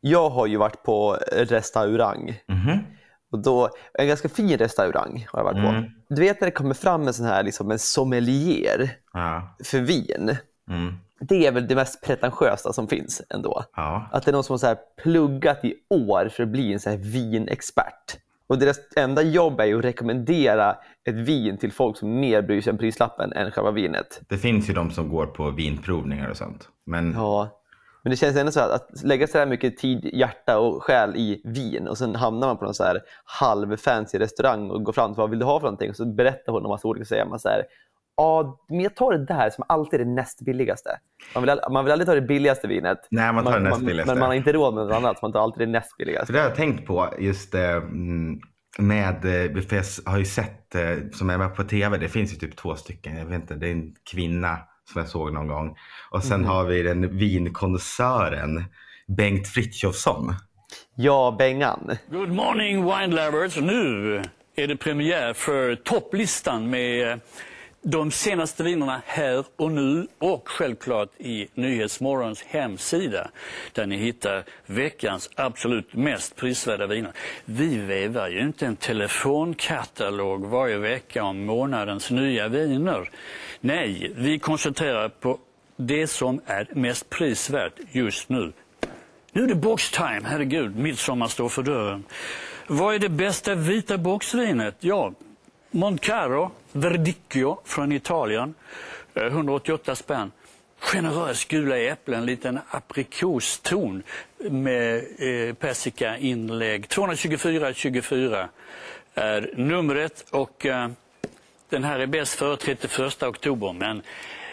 jag har ju varit på restaurang. Mhm. Och då, en ganska fin restaurang har jag varit på. Mm. Du vet när det kommer fram en sån här liksom en sommelier Ja. för vin. Mm. Det är väl det mest pretentiösa som finns ändå. Ja. Att det är någon som har så här pluggat i år för att bli en så här vinexpert. Och deras enda jobb är ju att rekommendera ett vin till folk som mer bryr sig om prislappen än själva vinet. Det finns ju de som går på vinprovningar och sånt. Men Ja. Men det känns ändå så här att, att lägga så här mycket tid, hjärta och själ i vin och sen hamnar man på någon så här halvfancy restaurang och går fram till vad vill du ha för någonting och så berättar hon om massa olika saker. Man så här, ja, men jag tar det där som alltid är det näst billigaste. Man vill, all- man vill aldrig ta det billigaste vinet. Nej, man tar det näst billigaste. Men man har inte råd med något annat, så man tar alltid det näst För billigaste. det har jag tänkt på just eh, mm, med, eh, för jag s- har ju sett, eh, som är med på tv, det finns ju typ två stycken, jag vet inte, det är en kvinna som jag såg någon gång. Och sen Mm. har vi den vinkonnässören Bengt Frithiofsson. Ja, Bengan. Good morning wine lovers! Nu är det premiär för topplistan med eh, de senaste vinerna här och nu och självklart i Nyhetsmorgons hemsida där ni hittar veckans absolut mest prisvärda viner. Vi vevar ju inte en telefonkatalog varje vecka om månadens nya viner. Nej, vi koncentrerar på det som är mest prisvärt just nu. Nu är det box time, herregud, midsommar står för dörren. Vad är det bästa vita boxvinet? Ja, Montcaro Verdicchio från Italien, eh, 188 spänn. Generös gula äpplen, liten aprikoston med eh, persikainlägg. 224 24 är numret och eh, den här är bäst före 31 oktober, men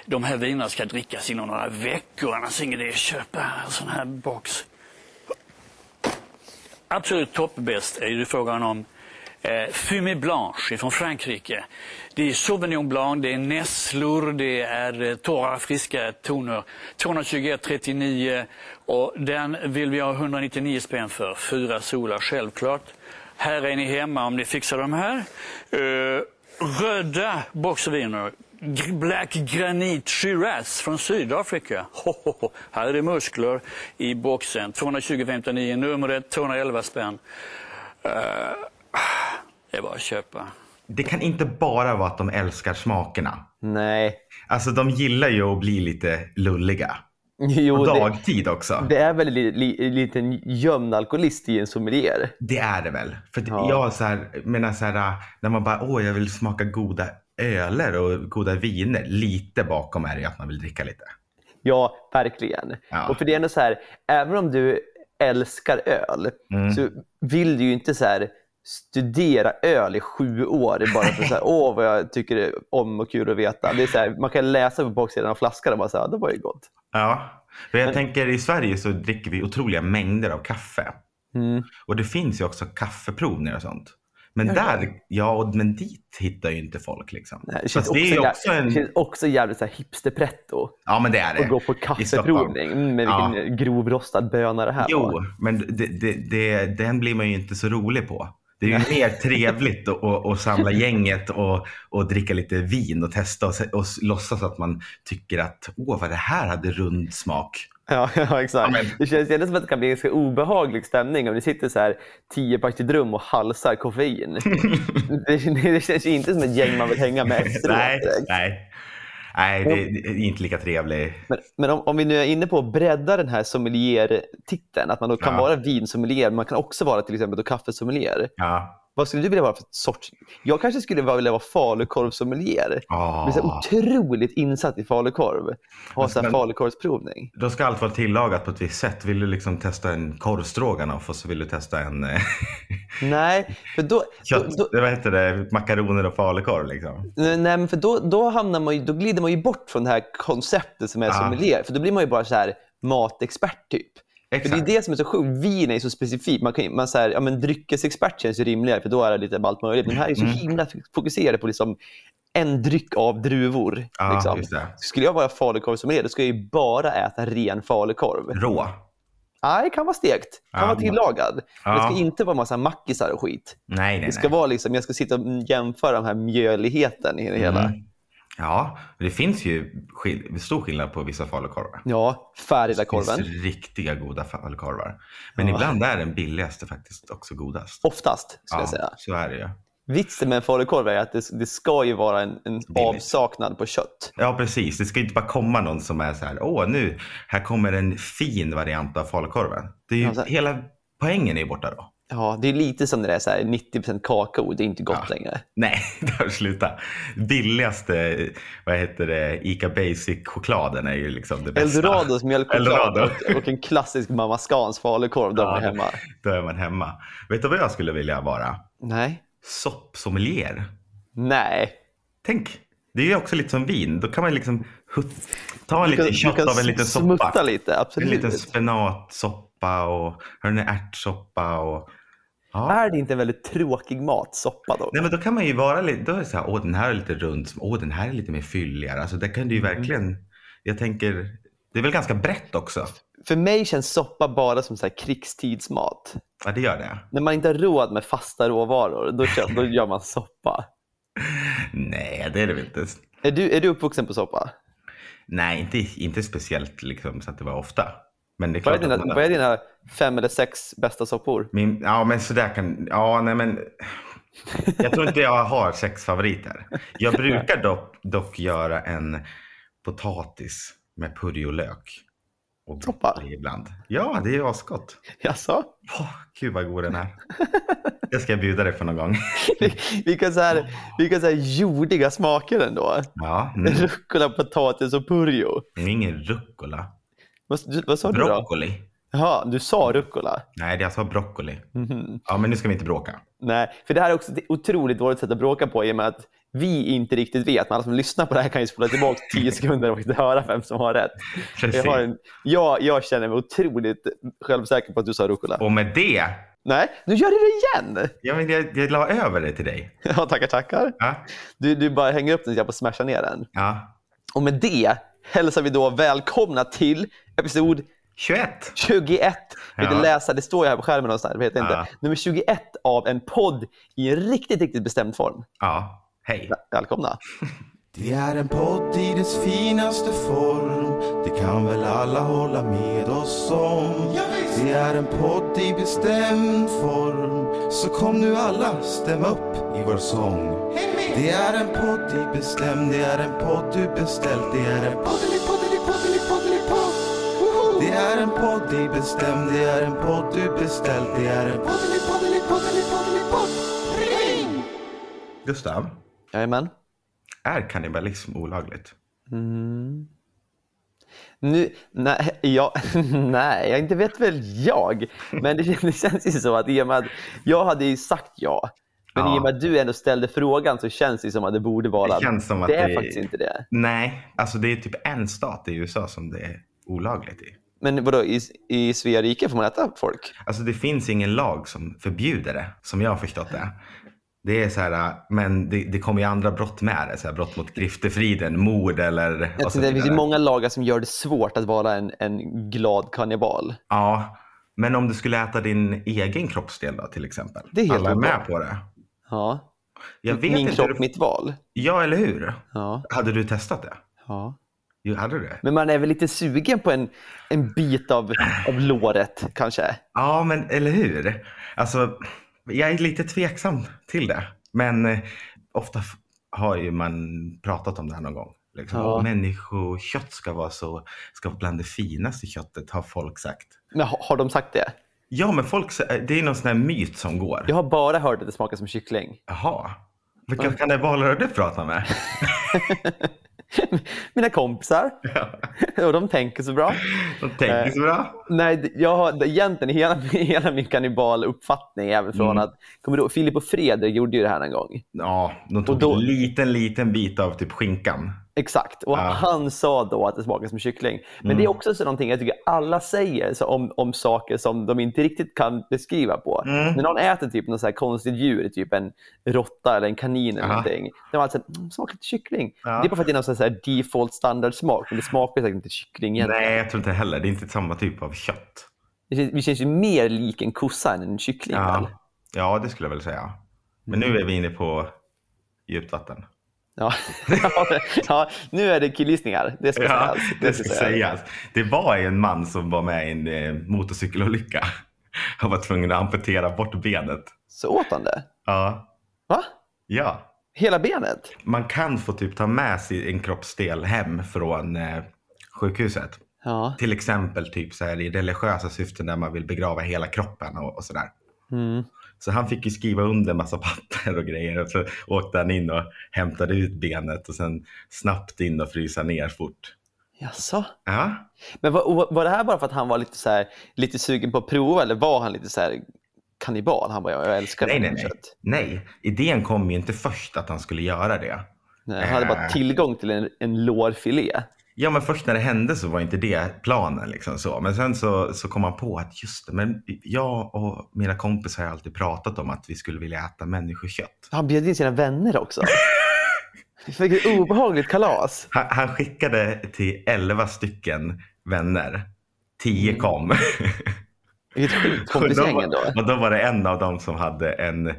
de här vinerna ska drickas inom några veckor, annars är ingen idé att köpa en sån här box. Absolut toppbäst är ju frågan om eh, Fumé Blanche från Frankrike. Det är Sauvignon Blanc, det är nässlor, det är eh, torra friska toner. 221,39 och den vill vi ha 199 spänn för. Fyra solar självklart. Här är ni hemma om ni fixar de här. Eh, röda boxviner. Gr- Black Granit Shiraz från Sydafrika. Ho, ho, ho. Här är det muskler i boxen. 220,59 numret, 211 spänn. Eh, det är bara att köpa. Det kan inte bara vara att de älskar smakerna. Nej. Alltså de gillar ju att bli lite lulliga. Jo, På det, dagtid också. det är väl en li, li, liten gömd alkoholist i en sommelier. Det är det väl. För att Ja. jag så här, menar så här, när man bara, åh jag vill smaka goda öler och goda viner. Lite bakom är det ju att man vill dricka lite. Ja, verkligen. Ja. Och för det är ändå så här, även om du älskar öl Mm. så vill du ju inte så här studera öl i sju år bara för att säga åh vad jag tycker det är om och kul att veta. Det är så här, man kan läsa på baksidan av flaskan och bara säga det var ju gott. Ja. Men jag tänker i Sverige så dricker vi otroliga mängder av kaffe. Mm. Och det finns ju också kaffeprovningar och sånt. Men där, ja, och- men dit hittar ju inte folk liksom. Det, här känns Fast också, det är jä- ju också det en... känns också jävligt så här hipsterpretto Ja, men det är det. att gå på I Stockholm. kaffeprovning. Mm, Men vilken grovrostad böna det här var. Jo, men det, det, det, den blir man ju inte så rolig på. Det är ju mer trevligt att, att, att samla gänget och, och dricka lite vin och testa och, se- och s- låtsas att man tycker att åh, vad det här hade rund smak. Ja, ja exakt. men- Det känns ju ändå som att det kan bli en ganska obehaglig stämning om ni sitter så här tio pers i ett rum och halsar koffein. det, det känns ju inte som ett gäng man vill hänga med efteråt. nej, direkt. nej. nej det, det är inte lika trevligt. Men, men om, om vi nu är inne på att bredda den här sommelier-titeln, att man då kan Ja. vara vinsommelier, men man kan också vara till exempel då kaffesommelier. Ja. Vad skulle du vilja vara för sorts? Jag kanske skulle vara- vilja vara falukorvsommelier. Ah. Bli så här otroligt insatt i falukorv. Ha så här Men- falukorvsprovning. Då ska allt vara tillagat på ett visst sätt. Vill du liksom testa en korvstroganoff och så vill du testa en eh, Nej, för då, då, kött, då, vad heter det, makaroner och falukorv liksom. Nej, nej, men för då, då, hamnar man ju, då glider man ju bort från det här konceptet som är Ja. sommelier. För då blir man ju bara så här matexpert typ. För det Exakt. är det som är så sjukt. Vin är ju så specifikt. Man kan, ju- man så här, ja, men dryckesexpert känns ju rimligare för då är det lite av allt möjligt. Men här är det så Mm. himla fokuserade på liksom en dryck av druvor. Ja, liksom. just det. Skulle jag vara falukorvsommelier, då skulle jag ju bara äta ren falukorv. Rå. Nej, kan vara stekt. Kan Mm. Ja. vara tillagad. Men det Ja. ska inte vara massa mackisar och skit. Nej, nej, Det ska nej. vara liksom, jag ska sitta och jämföra den här mjöligheten i det hela. Mm. Ja, det finns ju skill- stor skillnad på vissa falukorvar. Ja, Det färdigkorven. finns riktiga goda falukorvar. Men Ja. ibland är den billigaste faktiskt också godast. Oftast, skulle jag säga. så är det ju. Vitsen med en falukorv är att det, det ska ju vara en, en avsaknad på kött. Ja, precis. Det ska ju inte bara komma någon som är så här, åh nu, här kommer en fin variant av falukorven. Det är ju, Ja, så- Hela poängen är ju borta då. Ja, det är lite som det där så här, 90 kakao, det är inte gott Ja. längre. Nej, det har slutat. Billigaste, vad heter det, Ica Basic-chokladen är ju liksom det bästa. Eldorados mjölkchoklad Eldorado. och, och en klassisk Mamma Scans falukorv, de Ja, är det- hemma. Då är man hemma. Vet du vad jag skulle vilja vara? Nej. Soppsommelier. Nej. Tänk, det är ju också lite som vin. Då kan man liksom hut- ta en Du kan- liten du shot kan av en liten smutta soppa. lite, En absolut. liten spenatsoppa och hörni, ärtsoppa och... Ja. Är det inte en väldigt tråkig mat, soppa då? Nej men då kan man ju vara lite, då är det så här, åh den här är lite rund, åh den här är lite mer fylligare. Alltså det kan du ju Mm. verkligen, jag tänker, det är väl ganska brett också? För mig känns soppa bara som så här krigstidsmat. Ja det gör det. När man inte har råd med fasta råvaror, då, kö- då gör man soppa. Nej det är det väl inte. Är du, är du uppvuxen på soppa? Nej inte, inte speciellt liksom så att det var ofta. Men det är Vad är klart dina, att man- vad är dina fem eller sex bästa soppor? Min, ja men sådär kan, ja nej men. Jag tror inte jag har sex favoriter. Jag brukar dock, dock göra en potatis med purjolök. Och Toppa. broccoli ibland. Ja det är ju asgott. Jaså? Åh, gud vad god den är. Det ska jag bjuda dig på någon gång. Vilka, så här, vilka så här jordiga smaker ändå. Ja, mm. Rucola, potatis och purjo. Det är ingen rucola. Vad, du- vad sa du då? Broccoli. Jaha, du sa rucola. Nej, det jag sa broccoli. Mhm. Ja, men nu ska vi inte bråka. Nej, för det här är också ett otroligt dåligt sätt att bråka på i och med att vi inte riktigt vet. Men alla som lyssnar på det här kan ju spola tillbaka 10 sekunder och inte höra vem som har rätt. Precis. Jag, har en, jag, jag känner mig otroligt självsäker på att du sa rucola. Och med det, Nej, nu gör du det igen! ja, men jag, jag la över det till dig. Ja, tackar, tackar. Ja, Du, du bara hänger upp den så jag får smasha ner den. ja. Och med det hälsar vi då välkomna till episod 21. 21. Jag vill Ja. inte läsa, det står ju här på skärmen någonstans. Jag vet inte. Ja. Nummer 21 av en podd i en riktigt, riktigt bestämd form. Ja, hej. Välkomna. Det är en podd i dess finaste form Det kan väl alla hålla med oss om Det är en podd i bestämd form Så kom nu alla, stäm upp i vår sång Det är en podd i bestämd Det är en podd du beställt Det är en poddelipoddelipoddelipoddelipodd Det är en podd i bestämd Det är en podd du beställt Det är en poddelipoddelipoddelipoddelipodd Ring! Gustav, Jajamän. är kannibalism olagligt? Nu, nej, jag, nej, jag inte vet väl jag. Men det, det känns ju så att i och med att jag hade ju sagt ja. Men i Ja. och med att du ändå ställde frågan så känns det ju som att det borde vara. Det känns som att det är det- faktiskt inte det. Nej, alltså det är typ en stat i USA som det är olagligt i. Men vadå, i, i Svea rike får man äta folk? Alltså det finns ingen lag som förbjuder det, som jag har förstått det. Det är så här, äh, men det, det kommer ju andra brott med det. Så här, brott mot griftefriden, mord Jag eller... och så tänkte, Alltså, det finns ju vidare. många lagar som gör det svårt att vara en, en glad kannibal. Ja, men om du skulle äta din egen kroppsdel då till exempel? Det är helt Alla är med oklart. på det. Ja. Jag vet Min inte kropp, hur du... mitt val. Ja, eller hur? Ja. Hade du testat det? ja. Jo, hade du det? Men man är väl lite sugen på en, en bit av, av låret kanske? Ja, men eller hur? Alltså, jag är lite tveksam till det. Men eh, ofta f- har ju man pratat om det här någon gång. Liksom, Ja. "Åh, Människokött ska vara så, ska vara bland det finaste köttet, har folk sagt. Men har, har de sagt det? Ja, men folk, sä- det är någon sån här myt som går. Jag har bara hört att det smakar som kyckling. Jaha, vilka kannibaler har du pratat med? Mina kompisar. Och de tänker så bra. De tänker så bra. Nej, d- jag har egentligen hela, hela min kannibaluppfattning är väl Mm. från att, kommer du ihåg, Filip och Fredrik gjorde ju det här en gång. Ja, de Och tog då- en liten, liten bit av typ skinkan. Exakt. Och Ja. Mm. han sa då att det smakar som kyckling. Men det är också så någonting jag tycker alla säger så om, om saker som de inte riktigt kan beskriva på. Mm. När någon äter typ något så här konstigt djur, typ en råtta eller en kanin eller Ja. någonting. De har alltid mm, smakar lite kyckling. Ja. Det är bara för att det är någon sån här default standard smak. Men det smakar säkert inte kyckling egentligen. Nej, jag tror inte heller. Det är inte samma typ av kött. Det känns, det känns ju mer lik en kossa än en kyckling. Ja. väl? Mm. ja, det skulle jag väl säga. Men nu är vi inne på djupt vatten. Ja. ja, nu är det killgissningar. Det ska Ja, sägas. det ska sägas. Det var ju en man som var med i en eh, motorcykelolycka. Han var tvungen att amputera bort benet. Så åt han det? Ja, Va? ja. Hela benet? Man kan få typ ta med sig en kroppsdel hem från eh, sjukhuset. Ja. Till exempel typ så här i religiösa syften där man vill begrava hela kroppen och, och sådär. Mm. Så han fick ju skriva under massa papper och grejer. Och så åkte han in och hämtade ut benet och sen snabbt in och frysa ner fort. Jaså? Ja, Men var, var det här bara för att han var lite, så här, lite sugen på att prova eller var han lite så här kannibal? Han bara, jag älskar nej, nej, nej. kött. Nej, idén kom ju inte först att han skulle göra det. Nej, han hade bara Äh. tillgång till en, en lårfilé. Ja, men först när det hände så var inte det planen. Liksom så. Men sen så, så kom han på att just det, men jag och mina kompisar har alltid pratat om att vi skulle vilja äta människokött. Han bjöd in sina vänner också. Vilket obehagligt kalas. Han, han skickade till 11 stycken vänner. 10 kom. Vilket skitkompisgäng Och ändå. då var- Och då var det en av dem som hade en,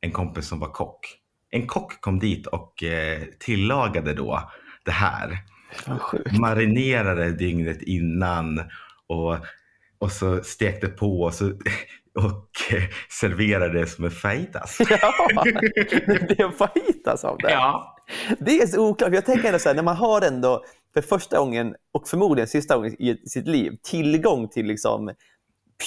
en kompis som var kock. En kock kom dit och eh, tillagade då det här. Fan, sjukt. marinerade dygnet innan och, och så stekte på och, så, och eh, serverade det som en fajitas. Ja, det är en fajitas av det. Ja. Det är så oklart. Jag tänker ändå så här, när man har ändå för första gången och förmodligen sista gången i sitt liv tillgång till liksom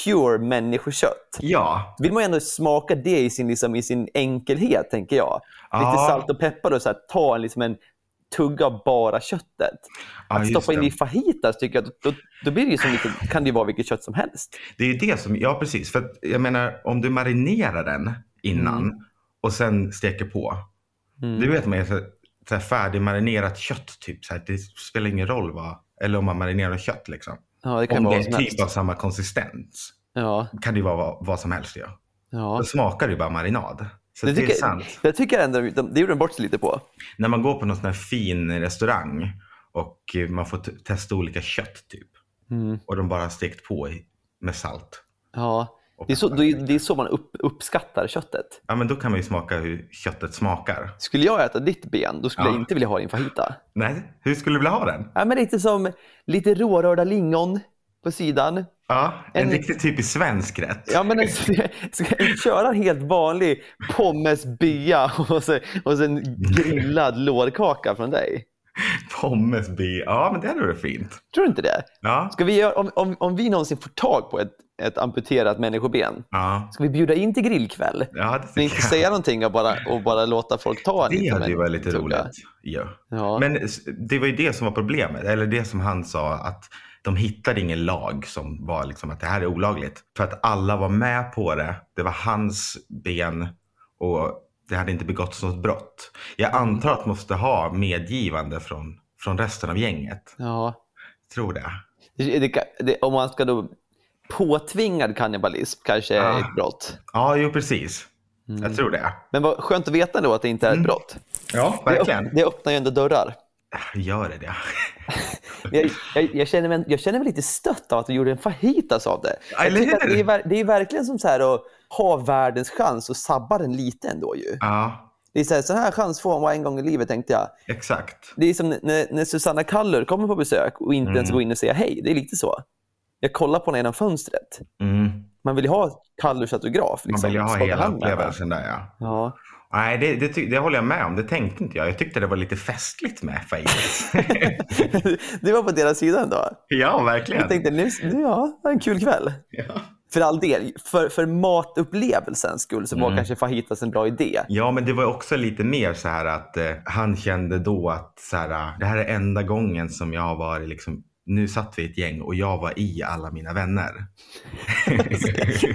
pure människokött. Ja, Vill man ju ändå smaka det i sin, liksom, i sin enkelhet, tänker jag. Lite Ja. salt och peppar och så här, ta en, liksom en tugga av bara köttet. Ja, att just stoppa in det. i fajitas, tycker jag, då, då blir det ju som vilket, kan det ju vara vilket kött som helst. det är ju det som, ja precis. För att, jag menar om du marinerar den innan och sen steker på. Mm. Du vet man är så, så här färdigmarinerat kött typ. Så här, det spelar ingen roll vad, eller om man marinerar kött liksom. Ja, det kan Om ju vara det är vad som helst. typ av samma konsistens Ja, kan det ju vara vad, vad som helst. Ja. ja. Då smakar det ju bara marinad. Så det, tycker, är sant. det tycker jag ändå, de, det gjorde de bort sig lite på. när man går på någon sån här fin restaurang och eh, man får t- testa olika kött typ. Och de bara har stekt på i- med salt. Ja. Och Det är så, peppar. det är, det är så man upp, uppskattar köttet. Ja men då kan man ju smaka hur köttet smakar. Skulle jag äta ditt ben, då skulle Ja. jag inte vilja ha din fajita. Nej, hur skulle du vilja ha den? Ja, men lite som lite rårörda lingon på sidan. Ja, en, En- riktigt typisk svensk rätt. Ja, men alltså, ska jag köra en helt vanlig pommes bea och sen, och sen grillad lårkaka från dig? Pommes B. Ja, men det hade varit fint. Tror du inte det? Ja. Ska vi göra, om, om, om vi någonsin får tag på ett, ett amputerat människoben, Ja. ska vi bjuda in till grillkväll? ja, det Men tycker inte jag. säga någonting och bara, och bara låta folk ta en Det liten hade ju men- varit lite tugga. roligt. Ja. Ja. Men s- det var ju det som var problemet, eller det som han sa att de hittade ingen lag som var liksom att det här är olagligt. För att alla var med på det. Det var hans ben och det hade inte begåtts något brott. Jag antar att man måste ha medgivande från, från resten av gänget. ja. Tror det. Det, det, kan- det, om man ska då påtvingad kannibalism kanske är Ah. ett brott. Ja, jo precis. Jag tror det. Men vad skönt att veta då att det inte är ett brott. Ja, Det, Mm, verkligen. öpp, det öppnar ju ändå dörrar. Gör det det? Jag, jag, jag, känner mig, jag känner mig lite stött av att du gjorde en fajitas av det. Ja, Jag eller tycker att hur? det, är, ver- det är verkligen som så här att ha världens chans och sabba den lite ändå. Ju. Ja, Det är så här, sån här chans får man bara en gång i livet tänkte jag. exakt. Det är som när, när Susanna Kallur kommer på besök och inte Mm. ens går in och säger hej. Det är lite så. Jag kollar på henne genom fönstret. Mm. Man vill ju ha Kallurs autograf. Man Liksom. vill ju ha Skaka hela hand med henne. upplevelsen där ja. Ja. Nej, det, det, ty- det håller jag med om. Det tänkte inte jag. Jag tyckte det var lite festligt med Fajitas. Du var på deras sida ändå. ja, Jag verkligen. tänkte, nu, nu ja, det var en kul kväll. Ja. För all del, för, för matupplevelsens skull så var Mm. kanske fajitas en bra idé. ja, men det var också lite mer så här att eh, han kände då att så här, eh, det här är enda gången som jag har varit liksom, nu satt vi i ett gäng och jag var i alla mina vänner.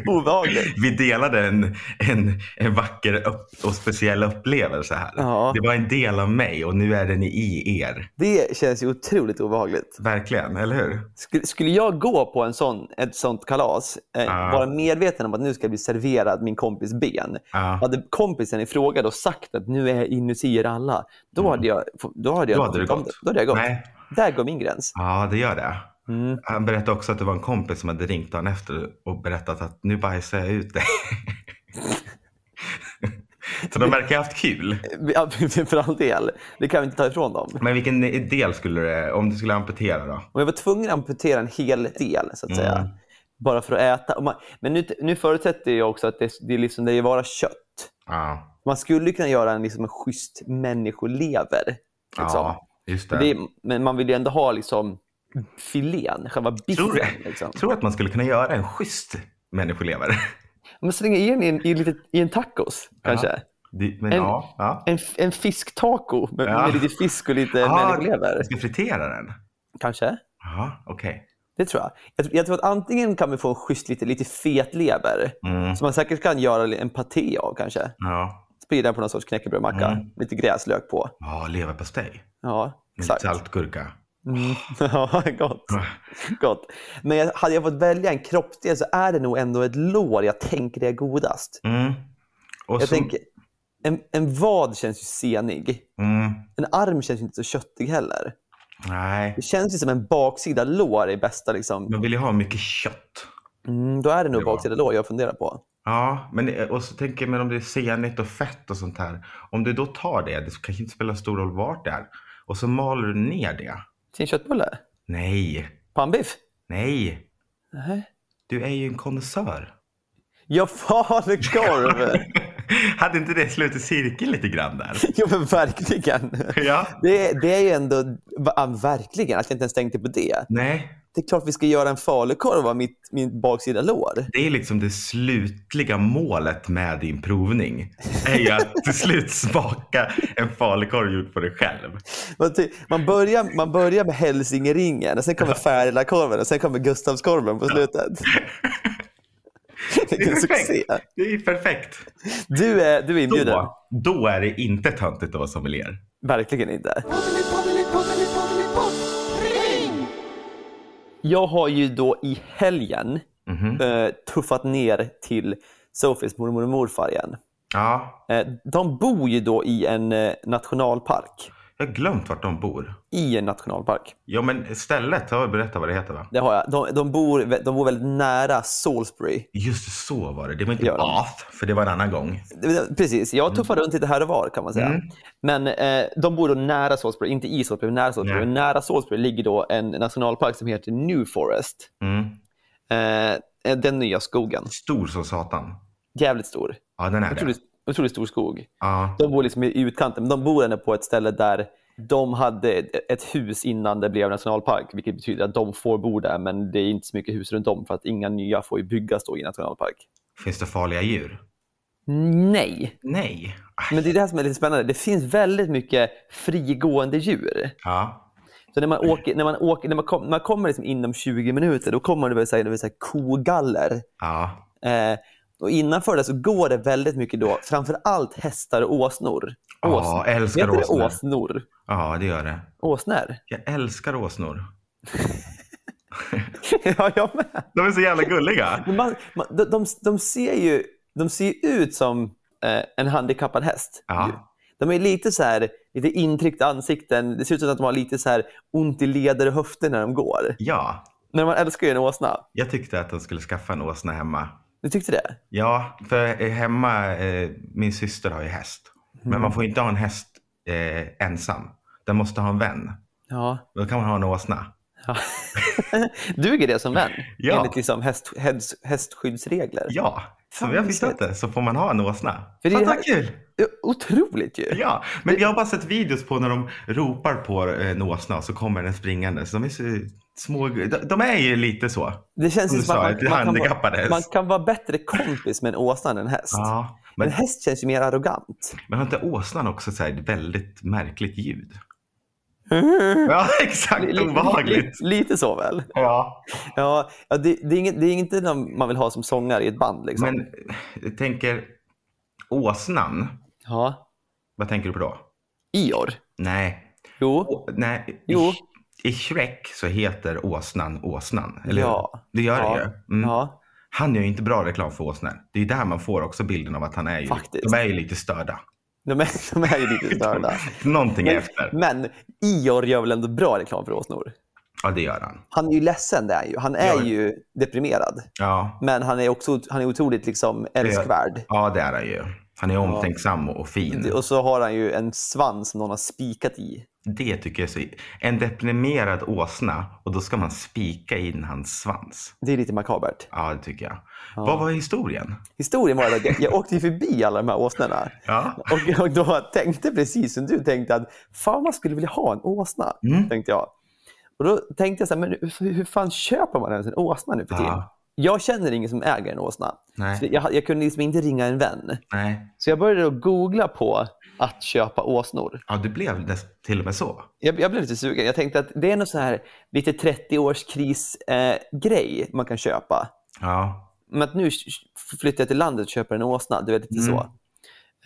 Obehagligt. Vi delade en, en, en vacker upp och speciell upplevelse här. Ja. Det var en del av mig och nu är den i er. Det känns ju otroligt obehagligt. Verkligen, eller hur? Skulle, skulle jag gå på en sån, ett sånt kalas, eh, Ja. vara medveten om att nu ska jag bli serverad min kompis ben. Ja. Hade kompisen i fråga då sagt att nu är jag inuti er alla, då hade jag Då hade jag, Mm. Då hade du gått. Då hade jag gått. Mm. Nej. Där går min gräns. Ja, det gör det. Han berättade också att det var en kompis som hade ringt dagen efter och berättat att nu bajsar jag ut dig. Så de verkar ha haft kul. Ja, för all del. Det kan vi inte ta ifrån dem. Men vilken del skulle det, om du skulle amputera då? Om jag var tvungen att amputera en hel del, så att säga, Mm. bara för att äta. Och man, men nu, nu förutsätter jag också att det, det, är liksom, det är bara kött. Ja, Man skulle kunna göra en, liksom, en schysst människolever. Liksom. ja just det. Det är, men man vill ju ändå ha liksom, filén, själva Tror biffen. du Liksom. tror du att man skulle kunna göra en schysst människolever? Men slänga i den i en, i, lite, i en tacos, kanske. Det- Men En- ja. ja. En, f- en fisktaco med, Ja. med lite fisk och lite Ah, människolever. du Ska fritera den? Kanske. Ja, okej. Det tror jag. jag. tr- Jag tror att antingen kan vi få en schysst lite, lite fet lever Mm. som man säkert kan göra en paté av kanske. Ja. Sprida på någon sorts knäckebrödmacka. Mm. Lite gräslök på. Ja, leverpastej. Ja, Med exakt. lite saltgurka. Mm. Ja, gott. gott. Men jag, hade jag fått välja en kroppsdel så är det nog ändå ett lår jag tänker är godast. Mm. Och Jag så- tänker, en, en vad känns ju senig. Mm. En arm känns ju inte så köttig heller. Nej, Det känns ju som en baksida lår i bästa liksom. man vill ju ha mycket kött. Mm, då är det nog Ja. baksida lår jag funderar på. Ja, men och så tänker jag men om det är senigt och fett och sånt här. Om du då tar det, det kanske inte spelar stor roll vart det är. Och så maler du ner det. Till en köttbulle? Nej, Pannbiff? nej. Nej. Du är ju en konnässör. Ja, falukorv! Hade inte det slutit cirkeln lite grann där? jo, men verkligen. Ja. Det, det är ju ändå... Ja, verkligen, att jag inte ens tänkte på det. Nej, Det är klart vi ska göra en falukorv av mitt, min baksida lår. det är liksom det slutliga målet med din provning. är ju att till slut smaka en falukorv gjord på dig själv. Man, ty- man, börjar, man börjar med hälsingeringen, och sen kommer Färilakorven och sen kommer Gustavskorven på slutet. Vilken succé. Det är ju perfekt. Du är, du är inbjuden. Då, då är det inte töntigt att vara sommelier. Verkligen inte. Jag har ju då i helgen Mhm. eh, tuffat ner till Sofies mormor och morfar igen. Ja, Eh, de bor ju då i en eh, nationalpark. jag har glömt vart de bor. I en nationalpark. Ja, men stället har jag berättat vad det heter va? Det har jag. De, de, bor, vä- de bor väldigt nära Salisbury. Just så var det. Det var inte Gör de. Bath, för det var en annan gång. Det- Precis, jag tuffar runt lite här och var kan man säga. Mm. Men eh, de bor då nära Salisbury, inte i Salisbury, men nära Salisbury. Nej. Och Nära Salisbury ligger då en nationalpark som heter New Forest. Mm. Eh, den nya skogen. Stor som satan. Jävligt stor. Ja, den är det. Otroligt, otroligt stor skog. Ja. De bor liksom i utkanten, men de bor ändå på ett ställe där de hade ett hus innan det blev nationalpark, vilket betyder att de får bo där, men det är inte så mycket hus runt om för att inga nya får ju byggas då i nationalpark. Finns det farliga djur? Nej, Nej. Ah, Aj. men det är det här som är lite spännande. Det finns väldigt mycket frigående djur. Ja. Så när man, åker, när man, åker, när man, kom, när man kommer liksom inom 20 minuter, då kommer det väl säga, det vill säga kogaller. Ja. Eh, och innanför det så går det väldigt mycket då, framför allt hästar och åsnor. Ja, älskar Heter det åsnor. åsnor? Ja, det gör det. Åsnor? Jag älskar åsnor. ja, jag med. De är så jävla gulliga. Men Man, man, de, de, de ser ju de ser ju ut som eh, en handikappad häst. Ja. De är lite så här, lite intryckta ansikten. Det ser ut som att de har lite så här ont i leder och höfter när de går. Ja, Men man älskar ju en åsna. jag tyckte att de skulle skaffa en åsna hemma. Du tyckte det? Ja, för hemma, eh, min syster har ju häst. Men man får inte ha en häst eh, ensam. Den måste ha en vän. Ja. Då kan man ha en åsna. ja. Duger det som vän? Ja. Enligt liksom häst, häst, hästskyddsregler? Ja, Fan, som jag vad förstått det så får man ha en åsna. För det är- Fan, vad kul! Det är Otroligt ju. Ja, men jag har bara sett videos på när de ropar på eh, en åsna och så kommer den springande. Så de är så små. De, de är ju lite så. Det känns Som ju du som sa, att ett man, man, kan handikappad vara, häst. man kan vara bättre kompis med en åsna än en häst. Ja, Men... men, En häst känns ju mer arrogant. men har inte åsnan också så här ett väldigt märkligt ljud? Ja, exakt. Obehagligt. Mm. Lite, lite så väl. Ja. Ja, ja, det, det, är inget, det är inte någon man vill ha som sångare i ett band. Liksom. Men eh, jag tänker åsnan. Ja. Vad tänker du på då? Ior. Nej. Jo. Å- nej. Jo. I, I Shrek så heter åsnan åsnan. Eller Ja. hur? Det gör Ja. det ju. Mm. Ja. Han gör ju inte bra reklam för åsnor. Det är ju där man får också bilden av att han är ju, Faktiskt. de är ju lite störda. De är, de är ju lite störda. Någonting är Men, efter. men Ior gör väl ändå bra reklam för åsnor? Ja, det gör han. Han är ju ledsen, det är han ju. Han är Ja. ju deprimerad. Ja, Men han är också han är otroligt liksom älskvärd. ja det är han ju. Han är omtänksam och fin. Och så har han ju en svans som någon har spikat i. Det tycker jag är så... En deprimerad åsna och då ska man spika in hans svans. Det är lite makabert. Ja, det tycker jag. Vad var historien? Historien var att jag, jag åkte ju förbi alla de här åsnorna. Ja. Och, och då tänkte precis som du tänkte att fan man skulle vilja ha en åsna. Tänkte jag. Och då tänkte jag så här, men hur, hur fan köper man ens en åsna nu för tiden? Ja. Jag känner ingen som äger en åsna. Nej. Så jag, jag kunde liksom inte ringa en vän. Nej. Så jag började då googla på att köpa åsnor. Ja, det blev näst, till och med så. Jag, jag blev lite sugen. Jag tänkte att det är någon så här lite 30-årskris-grej eh, grej man kan köpa. Ja. Men att nu f- flyttar jag till landet och köper en åsna. Du vet, lite så.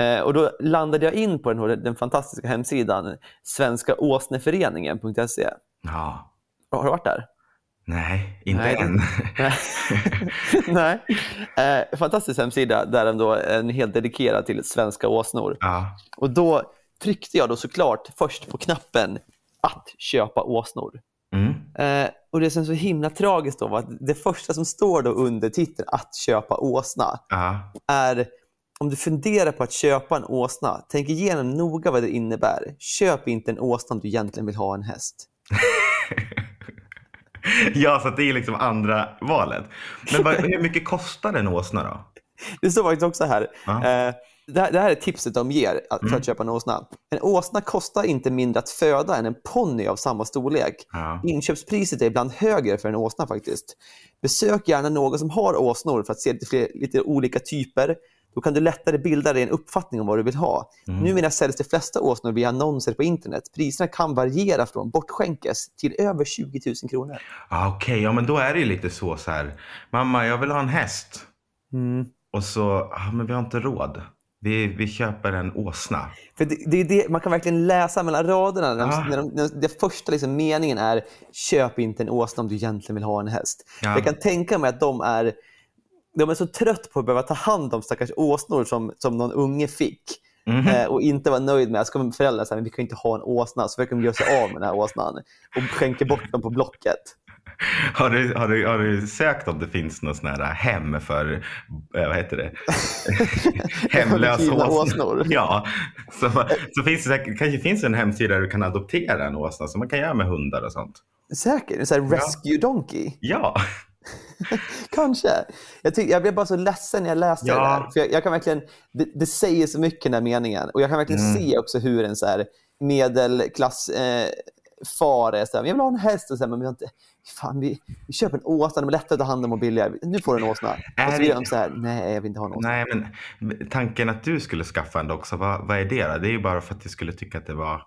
Eh, och då landade jag in på den, här- den fantastiska hemsidan svenskaåsneföreningen.se. Ja. Har du varit där? Nej, inte Nej. än. Nej. Nej. Eh, fantastisk hemsida där den då är helt dedikerad till svenska åsnor. Ja. Och då tryckte jag då såklart först på knappen att köpa åsnor. Mm. Eh, och det som är så himla tragiskt då var att det första som står då under titeln att köpa åsna Ja. är om du funderar på att köpa en åsna, tänk igenom noga vad det innebär. Köp inte en åsna om du egentligen vill ha en häst. ja, så att det är liksom andra valet. Men vad, hur mycket kostar en åsna då? Det står faktiskt också här. Ja. Eh, det, här det här är tipset de ger att- för att köpa en åsna. En åsna kostar inte mindre att föda än en ponny av samma storlek. Ja. Inköpspriset är ibland högre för en åsna faktiskt. Besök gärna någon som har åsnor för att se lite, fler, lite olika typer. Då kan du lättare bilda dig en uppfattning om vad du vill ha. Numera säljs de flesta åsnor via annonser på internet. Priserna kan variera från bortskänkes till över 20 000 kronor. Ah, Okej, ja men då är det ju lite så så här. Mamma, jag vill ha en häst. Och så, ah, men vi har inte råd. Vi, vi köper en åsna. För det, det är det, man kan verkligen läsa mellan raderna. När de, Ah. när de, när den första liksom meningen är köp inte en åsna om du egentligen vill ha en häst. Ja. Jag kan tänka mig att de är, de är så trött på att behöva ta hand om stackars åsnor som, som någon unge fick. Mhm. Eh, och inte vara nöjd med. Jag ska med föräldrar säga men vi kan ju inte ha en åsna. Så försöker de göra sig av med den här åsnan och skänker bort den på Blocket. Har du, har, du, har du sökt om det finns något sån här hem för, eh, vad heter det? Hemlösa Övergivna åsnor. åsnor. Ja, så, så finns det säkert, kanske finns en hemsida där du kan adoptera en åsna som man kan göra med hundar och sånt. Säkert? En sån här rescue donkey? Ja, Kanske. Jag, tyck, jag blev bara så ledsen när jag läste Ja. det där. För jag, jag kan verkligen, det, det säger så mycket, den här meningen. Och jag kan verkligen Mm. se också hur en så här medelklass eh, far är så här, "Men jag vill ha en häst. Och så här, men vi har inte, fan, vi, vi köper en åsna, de är lättare att ta hand om och billigare. Nu får du en åsna. Är Och så gör det- de så här, nej jag vill inte ha en åsna. nej men tanken att du skulle skaffa en också, vad, vad är det då? Det är ju bara för att du skulle tycka att det var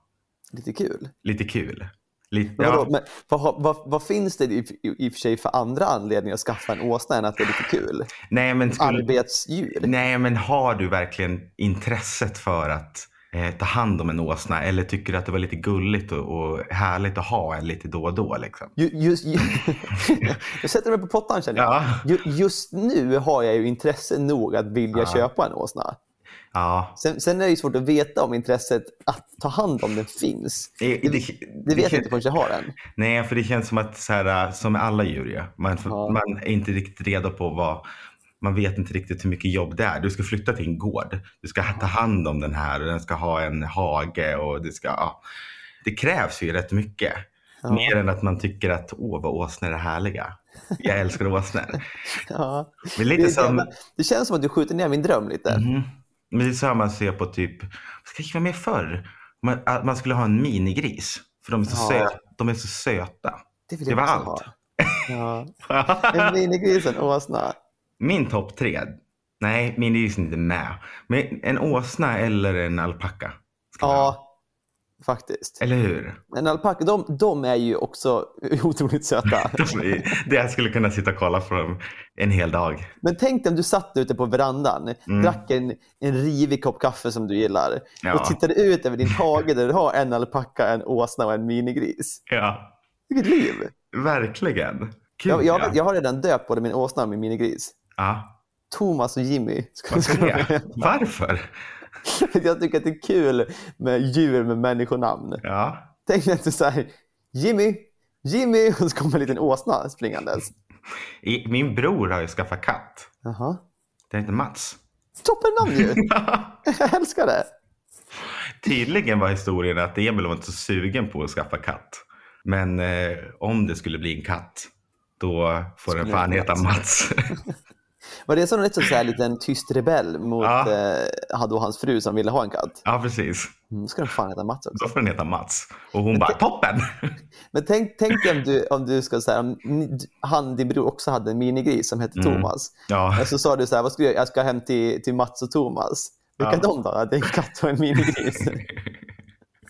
Lite kul. lite kul. Lite, Men, vadå, men vad, har- vad, vad finns det i, i, i och för sig för andra anledningar att skaffa en åsna än att det är lite kul? Nej men, skulle, Arbetsdjur. nej, men har du verkligen intresset för att eh, ta hand om en åsna? Eller tycker du att det var lite gulligt och, och härligt att ha en lite då och då? Liksom? Ju- Just, ju, jag sätter mig på pottan känner jag. Ja. Ju- Just nu har jag ju intresse nog att vilja köpa en åsna. Ja. Sen, sen är det ju svårt att veta om intresset att ta hand om den finns. Det, det, Det vet kän- jag inte förrän jag har den. Nej, för det känns som att, så här, äh, som med alla djur, ja. man, får- Ja. man är inte riktigt redo på vad man vet inte riktigt hur mycket jobb det är. Du ska flytta till en gård. Du ska ta hand om den här och den ska ha en hage och det ska... Ja. Det krävs ju rätt mycket. Mer än att man tycker att åh vad åsnor är härliga. Jag älskar åsnor. Ja. Men Det, är lite det, som... jävla- det känns som att du skjuter ner min dröm lite. Mm. Men det är så här man ser på typ, vad ska jag med förr? Man, att man skulle ha en minigris. För de är så, Ja. söta, de är så söta. Det vill Det jag var också allt. ha. Ja. En minigris och en åsna. Min topp tre. Nej, min är just inte med. Men en åsna eller en alpacka. ska jag ha. Ja, faktiskt. Eller hur? En alpacka, de, de är ju också otroligt söta. Det jag skulle kunna sitta och kolla på dem en hel dag. Men tänk dig om du satt ute på verandan, drack en, en rivig kopp kaffe som du gillar Mm. Ja. och tittade ut över din hage där du har en alpacka, en åsna och en minigris. Ja, Vilket liv! verkligen. Kul Jag, ja. jag, jag har redan döpt både min åsna och min minigris. ja. Thomas och Jimmy. Ska, Varför ska de det? heta. Varför? För att jag tycker att det är kul med djur med människonamn. Ja. Tänk dig att du säger Jimmy, Jimmy och så kommer en liten åsna springandes. I- Min bror har ju skaffat katt. Jaha. Den heter Mats. Toppen namn ju! Jag älskar det. Tydligen var historien att Emil var inte så sugen på att skaffa katt. Men eh, om det skulle bli en katt, då får den Skulle fan det heta bli Mats. Var det som en så här liten tyst rebell mot Ja. eh, hade och hans fru som ville ha en katt? ja, precis. Mm, ska den fan heta Mats också. Då får den heta Mats. Och hon bara, toppen! Men tänk, tänk dig om du, om du ska säga, om ni- han, din bror också hade en minigris som Mm. hette Thomas. Ja, Och så sa du så här, vad ska jag, göra? jag ska hem till, till Mats och Thomas. Vilka Ja. de då? Ja, Det är en katt och en minigris.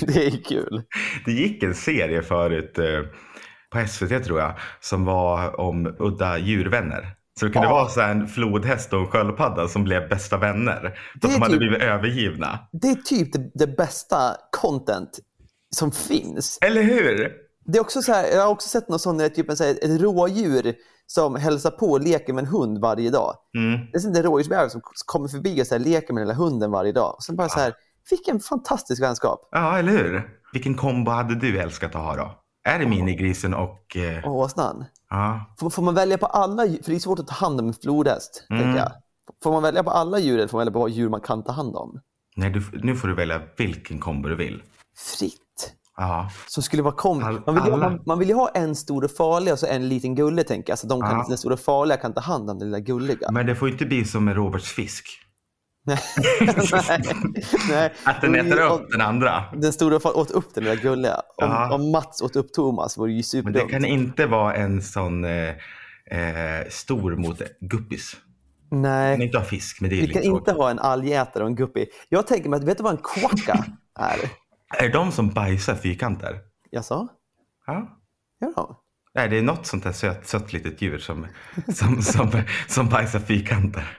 det är kul. det gick en serie förut eh, på SVT tror jag, som var om udda djurvänner. Så det kunde Ja. vara så här en flodhäst och en sköldpadda som blev bästa vänner. Det För är att de hade typ- blivit övergivna. Det är typ det, det bästa content som finns. Eller hur? Det är också så här, jag har också sett något sånt, där typ en, så här, ett rådjur som hälsar på och leker med en hund varje dag. Mm. Det är som en rådjursbebis som kommer förbi och så här, leker med den lilla hunden varje dag. Och sen bara så här, vilken fantastisk vänskap. Ja, eller hur? Vilken kombo hade du älskat att ha då? Är det minigrisen och... Eh, Och åsnan. ja. Får, får man välja på alla djur? För det är svårt att ta hand om en flodhäst. Mm. tänker jag. Får man välja på alla djur eller får man välja på vad djur man kan ta hand om? Nej, du, nu får du välja vilken kombo du vill. Fritt. Ja, Som skulle vara kom. All- Man vill, ju, alla. man, man vill ju ha en stor och farlig och så en liten gullig. Tänker jag. Så de kan, Ja. Den stora farliga kan ta hand om den lilla gulliga. men det får ju inte bli som med Roberts fisk. Nej. Nej. Att den Det vore äter ju- upp den andra. Den stora far åt upp den lilla gulliga. Om, Ja. om Mats åt upp Thomas vore det ju Men det superdumt. kan inte vara en sån eh, eh, stor mot guppis. Man kan Nej, inte ha fisk, men det är vi lite kan tråkigt. inte ha en algätare och en guppy. Jag tänker mig att, vet du vad en quacka är? Är det de som bajsar fyrkanter? Jag sa? Ja. Gör de? Nej, det är något sånt där sött, sött litet djur som, som, som, som bajsar fyrkanter.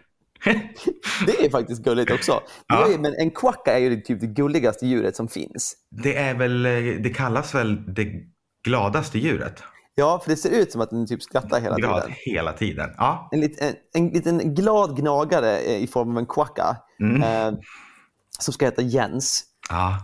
Det är faktiskt gulligt också. Ja. Det är, men en quacka är ju typ det gulligaste djuret som finns. Det är väl, eh, det kallas väl det gladaste djuret? Ja, för det ser ut som att den typ skrattar hela Glad tiden. hela tiden. Ja. En, lit, en, en liten glad gnagare eh, i form av en quacka Mm. eh, som ska heta Jens. ja.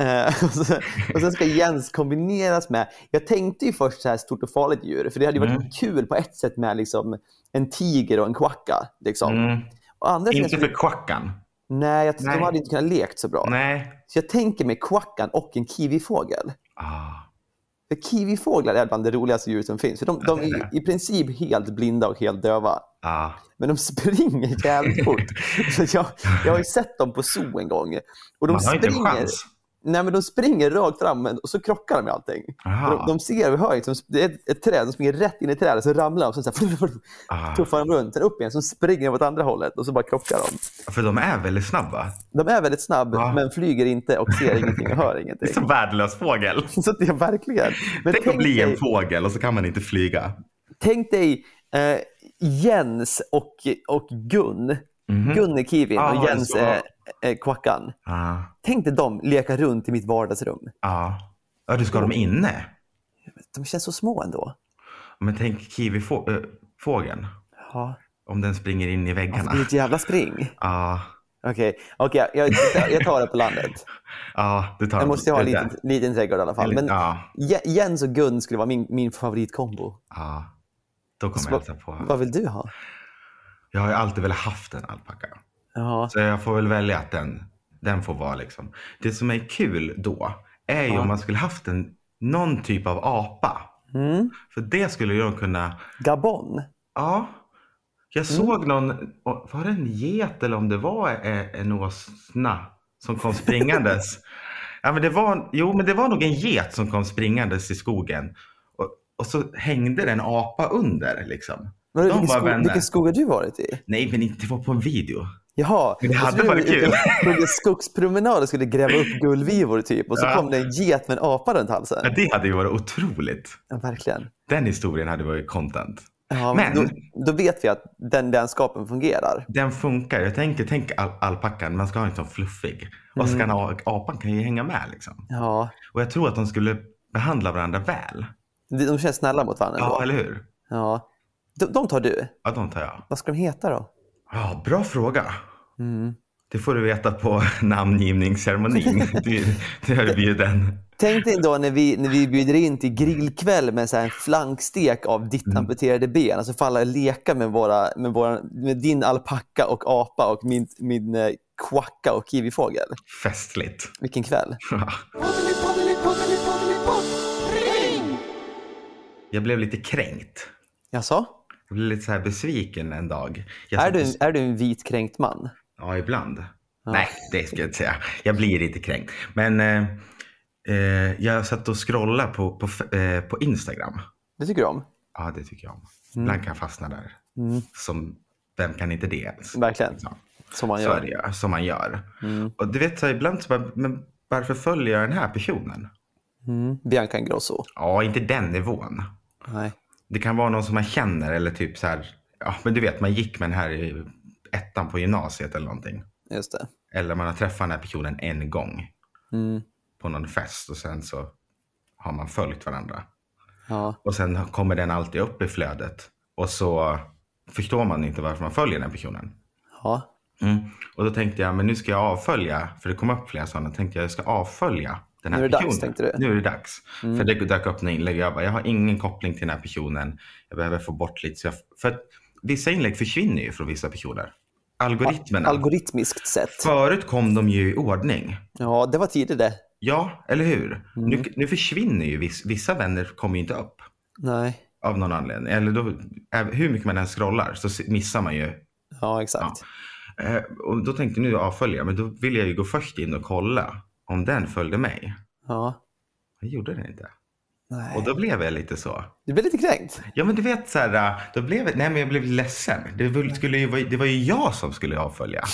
Eh, och, sen, och sen ska Jens kombineras med, jag tänkte ju först så här stort och farligt djur, för det hade ju Mm. varit kul på ett sätt med liksom, en tiger och en quacka. Liksom. Mm. Och andra sidan Inte skulle- för kvackan. nej, jag, Nej. de hade inte kunnat lekt så bra. Nej. Så jag tänker mig quackan och en kiwifågel. Ah. För kiwifåglar är bland det roligaste djur som finns. För de, de det är är ju i princip helt blinda och helt döva. Ah. Men de springer jävligt fort. Så jag, jag har ju sett dem på zoo en gång. Och de Man har inte en springer, chans. Nej, men de springer rakt fram men- och så krockar de med allting. Aha. De, de ser hur högt, de sp- det är ett, ett träd, de springer rätt in i trädet, så ramlar de, så, så här, Ah. tuffar de runt, sen upp igen, så springer de åt andra hållet och så bara krockar de. För de är väldigt snabba. De är väldigt snabba, Ja. men flyger inte och ser ingenting och hör Det är ingenting. som värdelös fågel. Så det är verkligen. Men Tänk att bli en dig- fågel och så kan man inte flyga. tänk dig eh, Jens och, och Gun. Gun är kiwin Ah, och det är Jens så. är, är kvackan. Ja. Tänk dig dem leka runt i mitt vardagsrum. Ja. ah. Ja, du ska ha dem inne. De känns så små ändå. Men tänk kiwifågeln. Ja. Om den springer in i Alltså, Det väggarna. Ah, blir ett jävla spring. Ja. Okej, okej, jag, jag- jag tar det på landet. Ja, ah. du tar Jag måste ju ha en det där. liten, liten trädgård i alla fall. Men Ja. Je- Jens och Gun skulle vara min, min favoritkombo. Ja. Då kommer jag Vad- hälsa på. Alltså, Vad vill du ha? Jag har ju alltid velat haft en alpacka. Ja, Så jag får väl välja att den, den får vara liksom. Det som är kul då är ju Ja. om man skulle haft en, någon typ av apa. Mm. För det skulle ju de kunna, Gabon. ja. Jag såg någon, och- var det en get eller om det var eh, en åsna som kom springandes? ja, men det var, jo, men det var nog en get som kom springandes i skogen. Och, och så hängde det en apa under liksom. Men De vilken, var skog, vänner. vilken skog har du varit i? Nej, men inte var på en video. Jaha. Men det jag hade trodde varit du var ute kul. och tog en skogspromenad och skulle gräva upp gullvivor typ. Och så Ja. kom det en get med en apa runt Ja, halsen. det hade ju varit otroligt. Ja, verkligen. Den historien hade varit content. Ja, men Men- då, då vet vi att den vänskapen fungerar. Den funkar. Jag tänker, tänk al alpackan, man ska ha en sån fluffig. Och så kan Mm. a- apan kan ju hänga med liksom. Ja, Och jag tror att de skulle behandla varandra väl. de de känns snälla mot varandra. Ja, Ja. eller hur? Ja. De, de tar du. Ja, de tar jag. Vad ska de heta då? Mm. Ja, bra fråga. Det får du veta på namngivningsceremonin. du, du är bjuden. Tänk dig då när vi, när vi bjuder in till grillkväll med så här en flankstek av ditt Mm. amputerade ben. Alltså får alla leka med, våra, med, våra, med din alpacka och apa och min, min eh, quacka och kiwifågel. Festligt. Vilken kväll. Jag blev lite kränkt. Jaså? Jag blev lite så här besviken en dag. Jag Är satt och- du, är du en vit kränkt man? Ja, ibland. Nej, det ska jag inte säga. Jag blir lite kränkt. Men eh, eh, jag satt och scrollade på, på, f- eh, på Instagram. Det tycker du om? Ja, det tycker jag om. Mm. Ibland kan jag fastna där. Som, vem kan inte det ens? Verkligen. Ja. Som man Så är det gör. Mm. ju, som man gör. Och du vet, så här, ibland så bara, men varför följer jag den här personen? Mm. Bianca Ingrosso. Ja, inte den nivån. Nej. Det kan vara någon som man känner eller typ så här, ja men du vet, man gick med den här i ettan på gymnasiet eller någonting. Just det. Eller man har träffat den här personen en gång Mm. på någon fest och sen så har man följt varandra. Ja. Och sen kommer den alltid upp i flödet. Och så förstår man inte varför man följer den här personen. ja. Mm. Och då tänkte jag, men nu ska jag avfölja, för det kom upp flera sådana, tänkte jag, jag ska avfölja den här Nu är det dags, personen. tänkte du? Mm. Nu är det dags. För det dök upp några inlägg och jag bara, jag har ingen koppling till den här personen. Jag behöver få bort lite. Så jag, för att vissa inlägg försvinner ju från vissa personer. Algoritmerna. Algoritmiskt sett. Förut kom de ju i ordning. Ja, det var tidigt det. Ja, eller hur? Nu, Mm. nu försvinner ju viss, vissa vänner kommer ju inte upp Nej. av någon anledning. Eller då, även- hur mycket man än scrollar så se- missar man ju Ja, exakt. Eh, och då tänkte jag nu avfölja, men då ville jag ju gå först in och kolla om den följde mig. Ja. Jag gjorde den inte. Nej. Och då blev jag lite så. Du blev lite kränkt. Ja men du vet så här, eh, då blev jag, nej men jag blev ledsen. Det, var- skulle ju, vara- det var ju jag som skulle avfölja.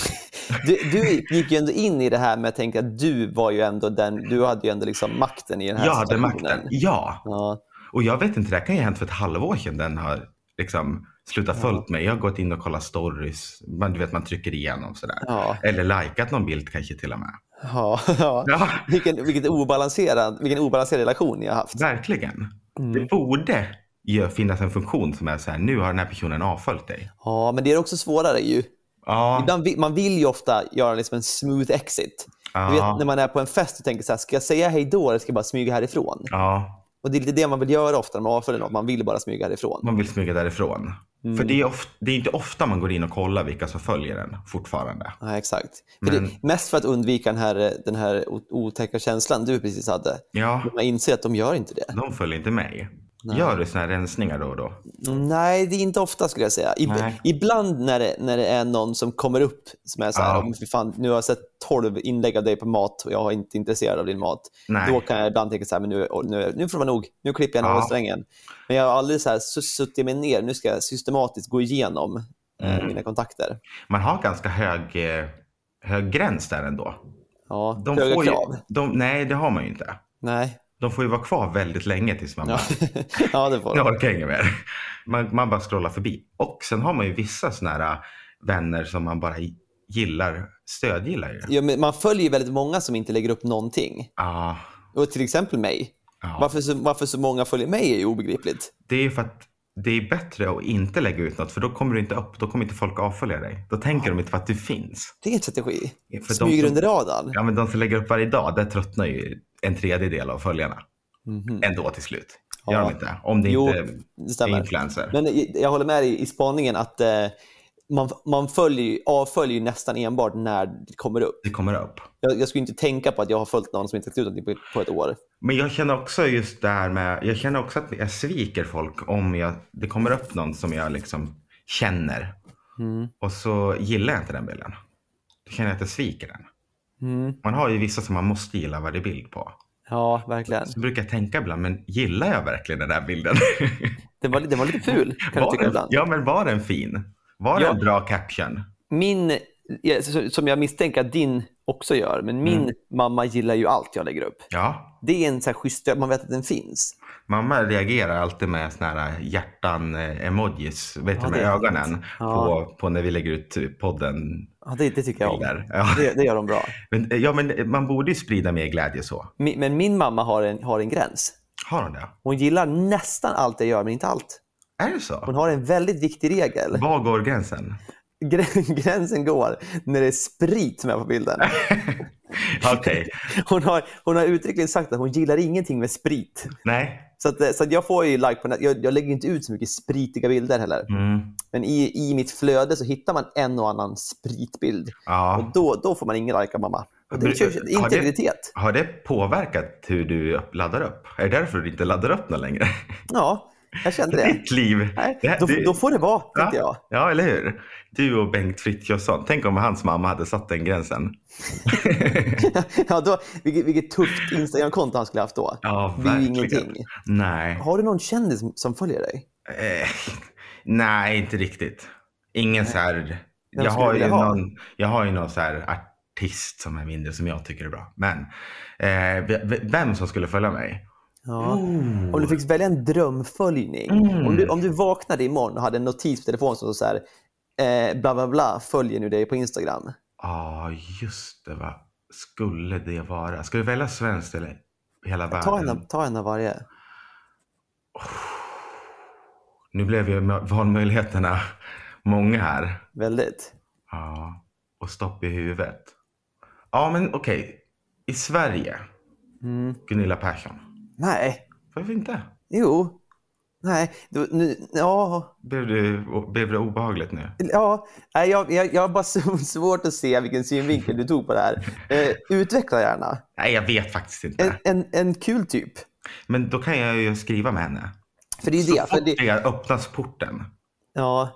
Du, du gick ju ändå in i det här med att tänka att du var ju ändå den, du hade ju ändå liksom makten i den här Jag hade situationen. makten. Ja. Ja, Och jag vet inte, det här kan ju ha hänt för ett halvår sedan den har liksom slutat följt mig. Jag har gått in och kollat stories. Man, du vet man trycker igenom sådär. Ja. Eller likat någon bild kanske till och med. ja, ja. Ja. Vilken, vilket obalanserad, vilken obalanserad relation ni har haft. Verkligen. Mm. Det borde ju finnas en funktion som är så här, nu har den här personen avföljt dig. Ja, men det är också svårare ju. Ja, Ibland, vi- man vill ju ofta göra liksom en smooth exit. Ja. Du vet, när man är på en fest och tänker så här, ska jag säga hej då eller ska jag bara smyga härifrån? ja, Och Det är lite det man vill göra ofta när man avföljer något, man vill bara smyga härifrån. man vill smyga därifrån. Mm. För det är, of- det är inte ofta man går in och kollar vilka som följer en fortfarande. Ja, exakt. För Mm. det, mest för att undvika den här, den här o- otäcka känslan du precis hade. Ja, Man inser att de gör inte det. de följer inte mig. Gör du såna här rensningar då och då? Nej, det är inte ofta skulle jag säga. Ib- Mm. Nej. Ibland när det, när det är någon som kommer upp som är så här, Ja. "Åh, fy fan, nu har jag sett 12 inlägg av dig på mat och jag är inte intresserad av din mat. Nej. Då kan jag ibland tänka så här, men nu, nu, nu får det vara nog. Nu klipper jag Ja. navelsträngen. Men jag har aldrig så här, su- suttit mig ner. Nu ska jag systematiskt gå igenom eh, Mm. mina kontakter. Man har ganska hög, eh, hög gräns där ändå. Ja, De höga får ju, krav. de, nej, det har man ju inte. Nej. De får ju vara kvar väldigt länge tills man Ja. bara, ja, det får de. Jag orkar inget mer. Man, man bara scrollar förbi. Och sen har man ju vissa såna här eh, vänner som man bara gillar, stödgillar ju. Ja, men man följer ju väldigt många som inte lägger upp någonting. Ja, Och till exempel mig. Ja. Varför, så, varför så många följer mig är ju obegripligt. det är ju för att det är bättre att inte lägga ut något för då kommer du inte upp. Då kommer inte folk avfölja dig. Då tänker de inte på att du finns. Det är en strategi. Ja, för de Smyger som- under radarn. Ja, men de som lägger upp varje dag, där tröttnar ju en tredjedel av följarna. Ändå till slut. Gör Mhm. Ja. de inte? Om det Jo, inte det stämmer. är influencer. Men jag- jag håller med dig i spaningen att eh, man, man följer, ju- avföljer ju nästan enbart när det kommer upp. Det kommer upp. Jag, jag skulle inte tänka på att jag har följt någon som inte har slutat på, på ett år. Men jag känner också just det här med, jag känner också att jag sviker folk om jag, det kommer upp någon som jag liksom känner Mm. och så gillar jag inte den bilden. Då känner jag att jag sviker den. Mm. Man har ju vissa som man måste gilla varje bild på. Ja, verkligen. Så brukar jag tänka ibland, men gillar jag verkligen den här bilden? Den var, den var lite ful, kan jag var tycka den, ibland. Ja, men var den fin? Var Ja. den bra caption? Min, ja, så- som jag misstänker att din också gör, men min Mm. mamma gillar ju allt jag lägger upp. Ja. Det är en så här schysst, man vet att den finns. Mamma reagerar alltid med såna här hjärtan-emojis, vet Ja, du, med det är fint. ögonen på, på när vi lägger ut podden Ja, det, det tycker jag om. Där. Ja. Det, det gör de bra. Men, eh, ja, men man borde ju sprida mer glädje så. Mi- Men min mamma har en, har en gräns. Har hon det? Hon gillar nästan allt jag gör, men inte allt. Är det Hon så? har en väldigt viktig regel. Var går gränsen? grä- gränsen går när det är sprit med på bilden. Okej, Hon har, hon har uttryckligen sagt att hon gillar ingenting med sprit. nej. Så, att, eh, så att jag får ju like på nät. Jag, jag lägger inte ut så mycket spritiga bilder heller. Mm. Men i, i mitt flöde så hittar man en och annan spritbild. Och Ja. då, då får man ingen like av mamma. Och Det Har är det- integritet. Har det påverkat hur du upp- laddar upp? Är det därför du inte laddar upp något längre? Ja, jag kände det. Ditt liv. Nej, Det- då, du- då får det vara, ja, tänkte jag. ja, eller hur? Du och Bengt Frithiofsson. Tänk om hans mamma hade satt den gränsen. Ja, då, vilket, vilket tufft Instagram-konto han skulle haft då. Ja, det är ju verkligen. ingenting. Nej. Har du någon kändis som- som följer dig? Eh, nej, inte riktigt. Ingen så här... Vem Jag skulle har, du ju vilja ha? någon, jag har ju någon så här artist som är mindre som jag tycker är bra. Men eh, v- v- vem som skulle följa mig? Oh. Ja. Om du fick välja en drömföljning. Mm. Om, du, om du vaknade imorgon och hade en notis på telefonen som så här, eh, bla bla bla, följer nu dig på Instagram. Ja, just det. Vad skulle det vara? Ska du välja svenskt eller hela Ta världen? en, av- ta en av varje. Nu blev ju ma- valmöjligheterna många här. Väldigt. Ja, och stopp i huvudet. Ja, men okej. I Sverige, Mm. Gunilla Persson. Nej. Varför inte? Jo. Nej. Du, nu, ja. Blev, du, blev det obehagligt nu? Ja, nej, jag, jag, jag har bara så svårt att se vilken synvinkel du tog på det här. Eh, utveckla gärna. Nej, jag vet faktiskt En, inte. en, en kul typ. Men då kan jag ju skriva med henne. För det är ju Så det. För fort det det öppnas porten. ja,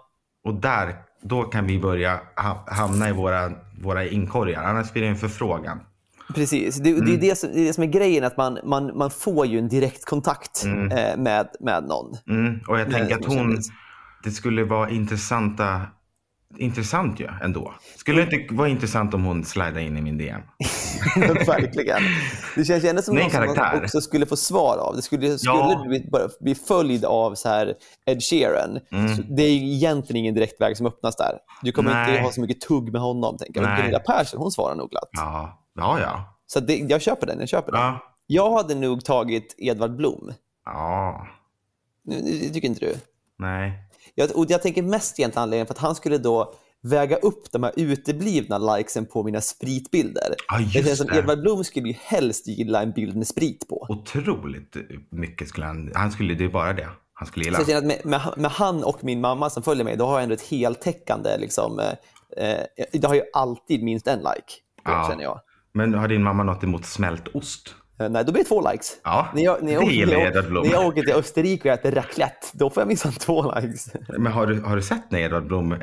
Och där, då kan vi börja ha- hamna i våra, våra inkorgar. Annars blir det en förfrågan. precis. Det, det, Mm. är det, som, det är det som är grejen, att man, man, man får ju en direktkontakt eh, med, med någon. Mm. Och jag Nej, tänker att som hon, kändis. det skulle vara intressanta, intressant ju ändå. Skulle Mm. det inte vara intressant om hon slidade in i min DM? Verkligen. Det känns ju ändå som Mm. Det är någon en som man karaktär. också skulle få svar av. Det skulle, skulle Ja. du bli, bara bli följd av så här Ed Sheeran. Mm. Så det är ju egentligen ingen direkt väg som öppnas där. Du kommer inte Nej. ha så mycket tugg med honom. Tänker jag. Men Nej. Gunilla Persson, hon svarar nog glatt. Ja, ja, ja. Så det, jag köper den. Jag, köper den. Ja, jag hade nog tagit Edvard Blom. ja. Nu- nu- Det tycker inte du? nej. Jag, och jag tänker mest egentligen anledningen för att han skulle då väga upp de här uteblivna likesen på mina spritbilder. Ja, det känns just som det. Edvard Blom skulle ju helst gilla en bild med sprit på. Otroligt mycket skulle han, han skulle, det är bara det han skulle gilla. Så jag känner att med, med, med han och min mamma som följer mig, då har jag ändå ett heltäckande... Liksom, eh, eh, det har ju alltid minst en like, Ja. känner jag. Men har din mamma något emot smältost? Eh, Nej, då blir det två likes. Ja, När jag, när jag, det åker- gillar när jag, Edvard Blom. När jag åker till Österrike och äter raclette, då får jag minsann två likes. Men har du, har du sett när Edvard Blom eh,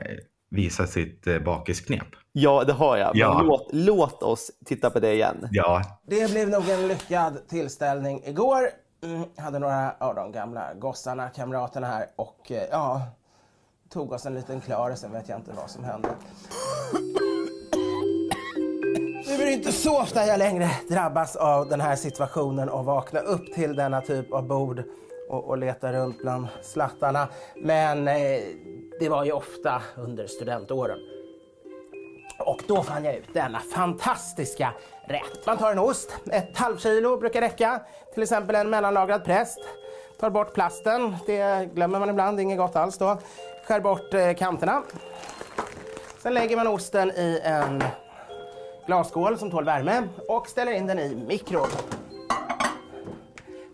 visar sitt eh, bakisknep? Ja, det har jag. Men Ja. Låt, låt oss titta på det igen. Ja, Det blev nog en lyckad tillställning igår. Mm, hade några av de gamla gossarna, kamraterna här och eh, ja, tog oss en liten klar och sen vet jag inte vad som hände. Nu är det inte så ofta jag längre drabbas av den här situationen och vakna upp till denna typ av bord och, och leta runt bland slattarna. Men eh, det var ju ofta under studentåren. Och då fann jag ut denna fantastiska rätt. Man tar en ost, ett halvt kilo brukar räcka. Till exempel en mellanlagrad präst. Tar bort plasten, det glömmer man ibland, det är inget gott alls då. Skär bort eh, kanterna. Sen lägger man osten i en glasskål som tål värme och ställer in den i mikron.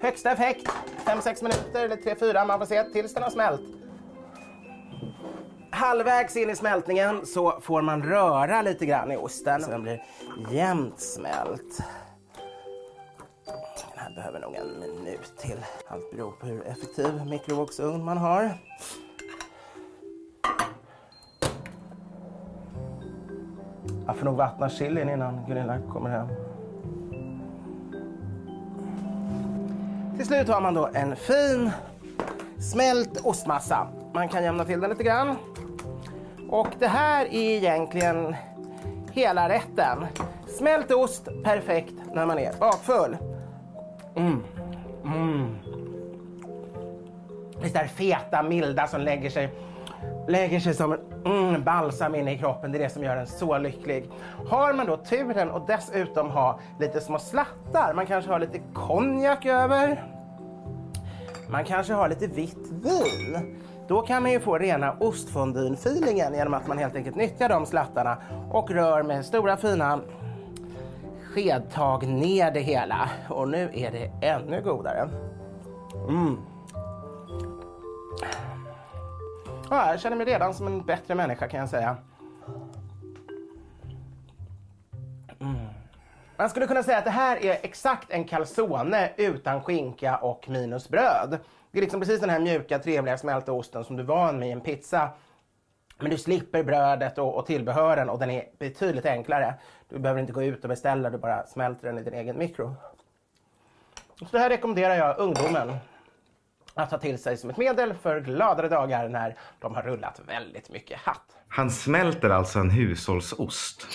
Högsta effekt, 5-6 minuter eller 3-4, man får se tills den har smält. Halvvägs in i smältningen så får man röra lite grann i osten så den blir jämnt smält. Den här behöver nog en minut till. Allt beror på hur effektiv mikrovågsugn man har. Jag får nog vattna chilin innan Gunilla kommer hem. Till slut har man då en fin smält ostmassa. Man kan jämna till den lite grann. Och det här är egentligen hela rätten. Smält ost, perfekt när man är bakfull. Mm. Mm. Det där feta, milda som lägger sig, lägger sig som en mm, balsam inne i kroppen. Det är det som gör en så lycklig. Har man då turen och dessutom ha lite små slattar, man kanske har lite konjak över. Man kanske har lite vitt vin. Då kan man ju få rena ostfondyn-feelingen genom att man helt enkelt nyttjar de slattarna och rör med stora fina skedtag ner det hela. Och nu är det ännu godare. Mm. Ja, jag känner mig redan som en bättre människa kan jag säga. Man skulle kunna säga att det här är exakt en calzone utan skinka och minus bröd. Det är liksom precis den här mjuka, trevliga smälta osten som du är van med i en pizza. Men du slipper brödet och, och tillbehören och den är betydligt enklare. Du behöver inte gå ut och beställa, du bara smälter den i din egen mikro. Så det här rekommenderar jag ungdomen att ta till sig som ett medel för gladare dagar när de har rullat väldigt mycket hatt. Han smälter alltså en hushållsost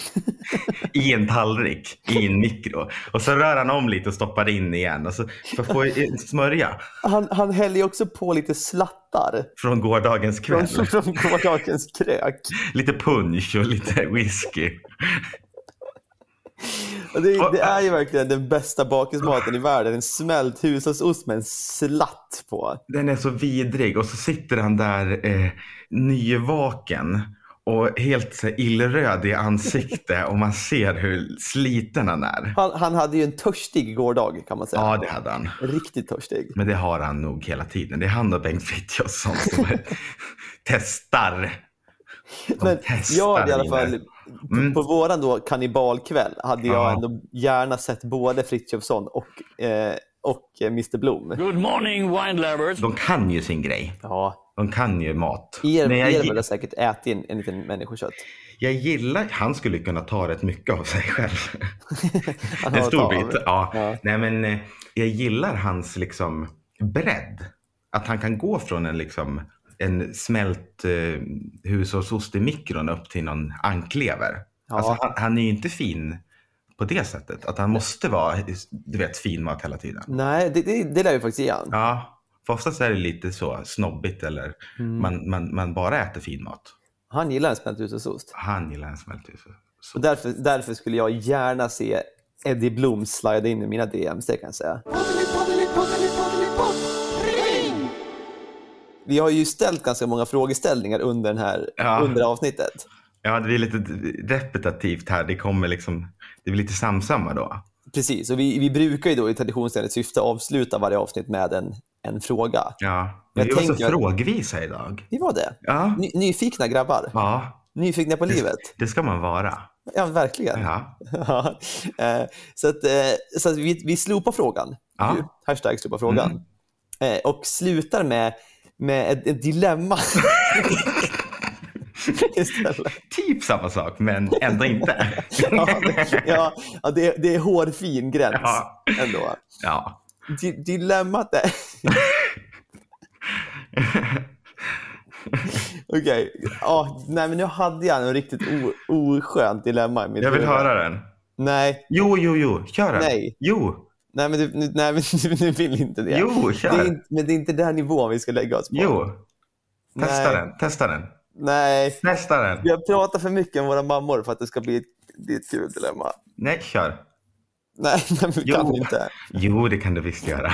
i en tallrik i en mikro. Och så rör han om lite och stoppar in igen. Och så för att få i- smörja Han, han häller ju också på lite slattar från gårdagens kväll. från, från gårdagens krök. Lite punch och lite whisky. Och det, det är ju verkligen den bästa bakismaten i världen. En smält hushållsost med en slatt på. Den är så vidrig och så sitter han där eh, nyvaken och helt så här illröd i ansikte och man ser hur sliten han är. Han, han hade ju en törstig gårdag kan man säga. Ja, det hade han. Riktigt törstig. Men det har han nog hela tiden. Det är han och Bengt Frithiofsson som är- testar. De Men testar jag hade i alla mina- fall, Mm. på våran då kannibalkväll, hade jag Ja. ändå gärna sett både Frithiofsson och, eh, och eh, Mr Blom. Good morning, wine lovers. De kan ju sin grej. Ja, De kan ju mat. er, Men jag, er gi- borde säkert ätit en, en liten människokött. jag gillar... Han skulle kunna ta rätt mycket av sig själv. Han En har stor ett av. bit. Ja. Ja. Nej, men eh, jag gillar hans liksom bredd. Att han kan gå från en liksom en smält eh, hushållsost i mikron upp till någon anklever. Ja. Alltså, han, han är ju inte fin på det sättet. Att han måste vara du vet, finmat hela tiden. Nej, det, det, det lär ju faktiskt ge han. Ja, för oftast är det lite så snobbigt eller Mm. man, man, man bara äter finmat. Han gillar en smält hushållsost. Han gillar en smält hushållsost. Och därför, därför skulle jag gärna se Eddie Blom slida in i mina DMs, det kan jag säga. Vi har ju ställt ganska många frågeställningar under, den här, Ja. under avsnittet. Ja, det blir lite repetitivt här. Det kommer liksom, det blir lite samsamma då. Precis, och vi, vi brukar ju då i traditionsenligt syfte avsluta varje avsnitt med en, en fråga. Ja, Jag men vi var så tänker- frågvisa idag. Vi var det. Ja, Ny, nyfikna grabbar. ja Nyfikna på livet. det ska man vara. Ja, verkligen. Ja, Ja. Eh, så att, eh, så att vi, vi slopar frågan. Ja. Mm. ju. Hashtag slopa frågan. Eh, och slutar med, med ett, ett dilemma. Istället. typ samma sak, men ändå inte. Ja, det, ja, ja, det, är- det är hårfin gräns Ja. ändå. Ja, Di, dilemmat är... Okej. Ja, nej, men nu hade jag en riktigt o- oskönt dilemma i mitt jag vill huvud. höra den. Nej, Jo, jo, jo, kör den. Nej. Jo, Nej men, du, nu- nej, men du, du vill inte det. Jo, det kör. är, inte- men det är inte den nivån vi ska lägga oss på. jo. Testa Nej. den, testa den. Nej, Testa den. vi har pratat för mycket om våra mammor för att det ska bli ett, bli ett kul dilemma. Nej, kör. Nej, nej men vi Jo. kan inte. Jo, det kan du visst göra.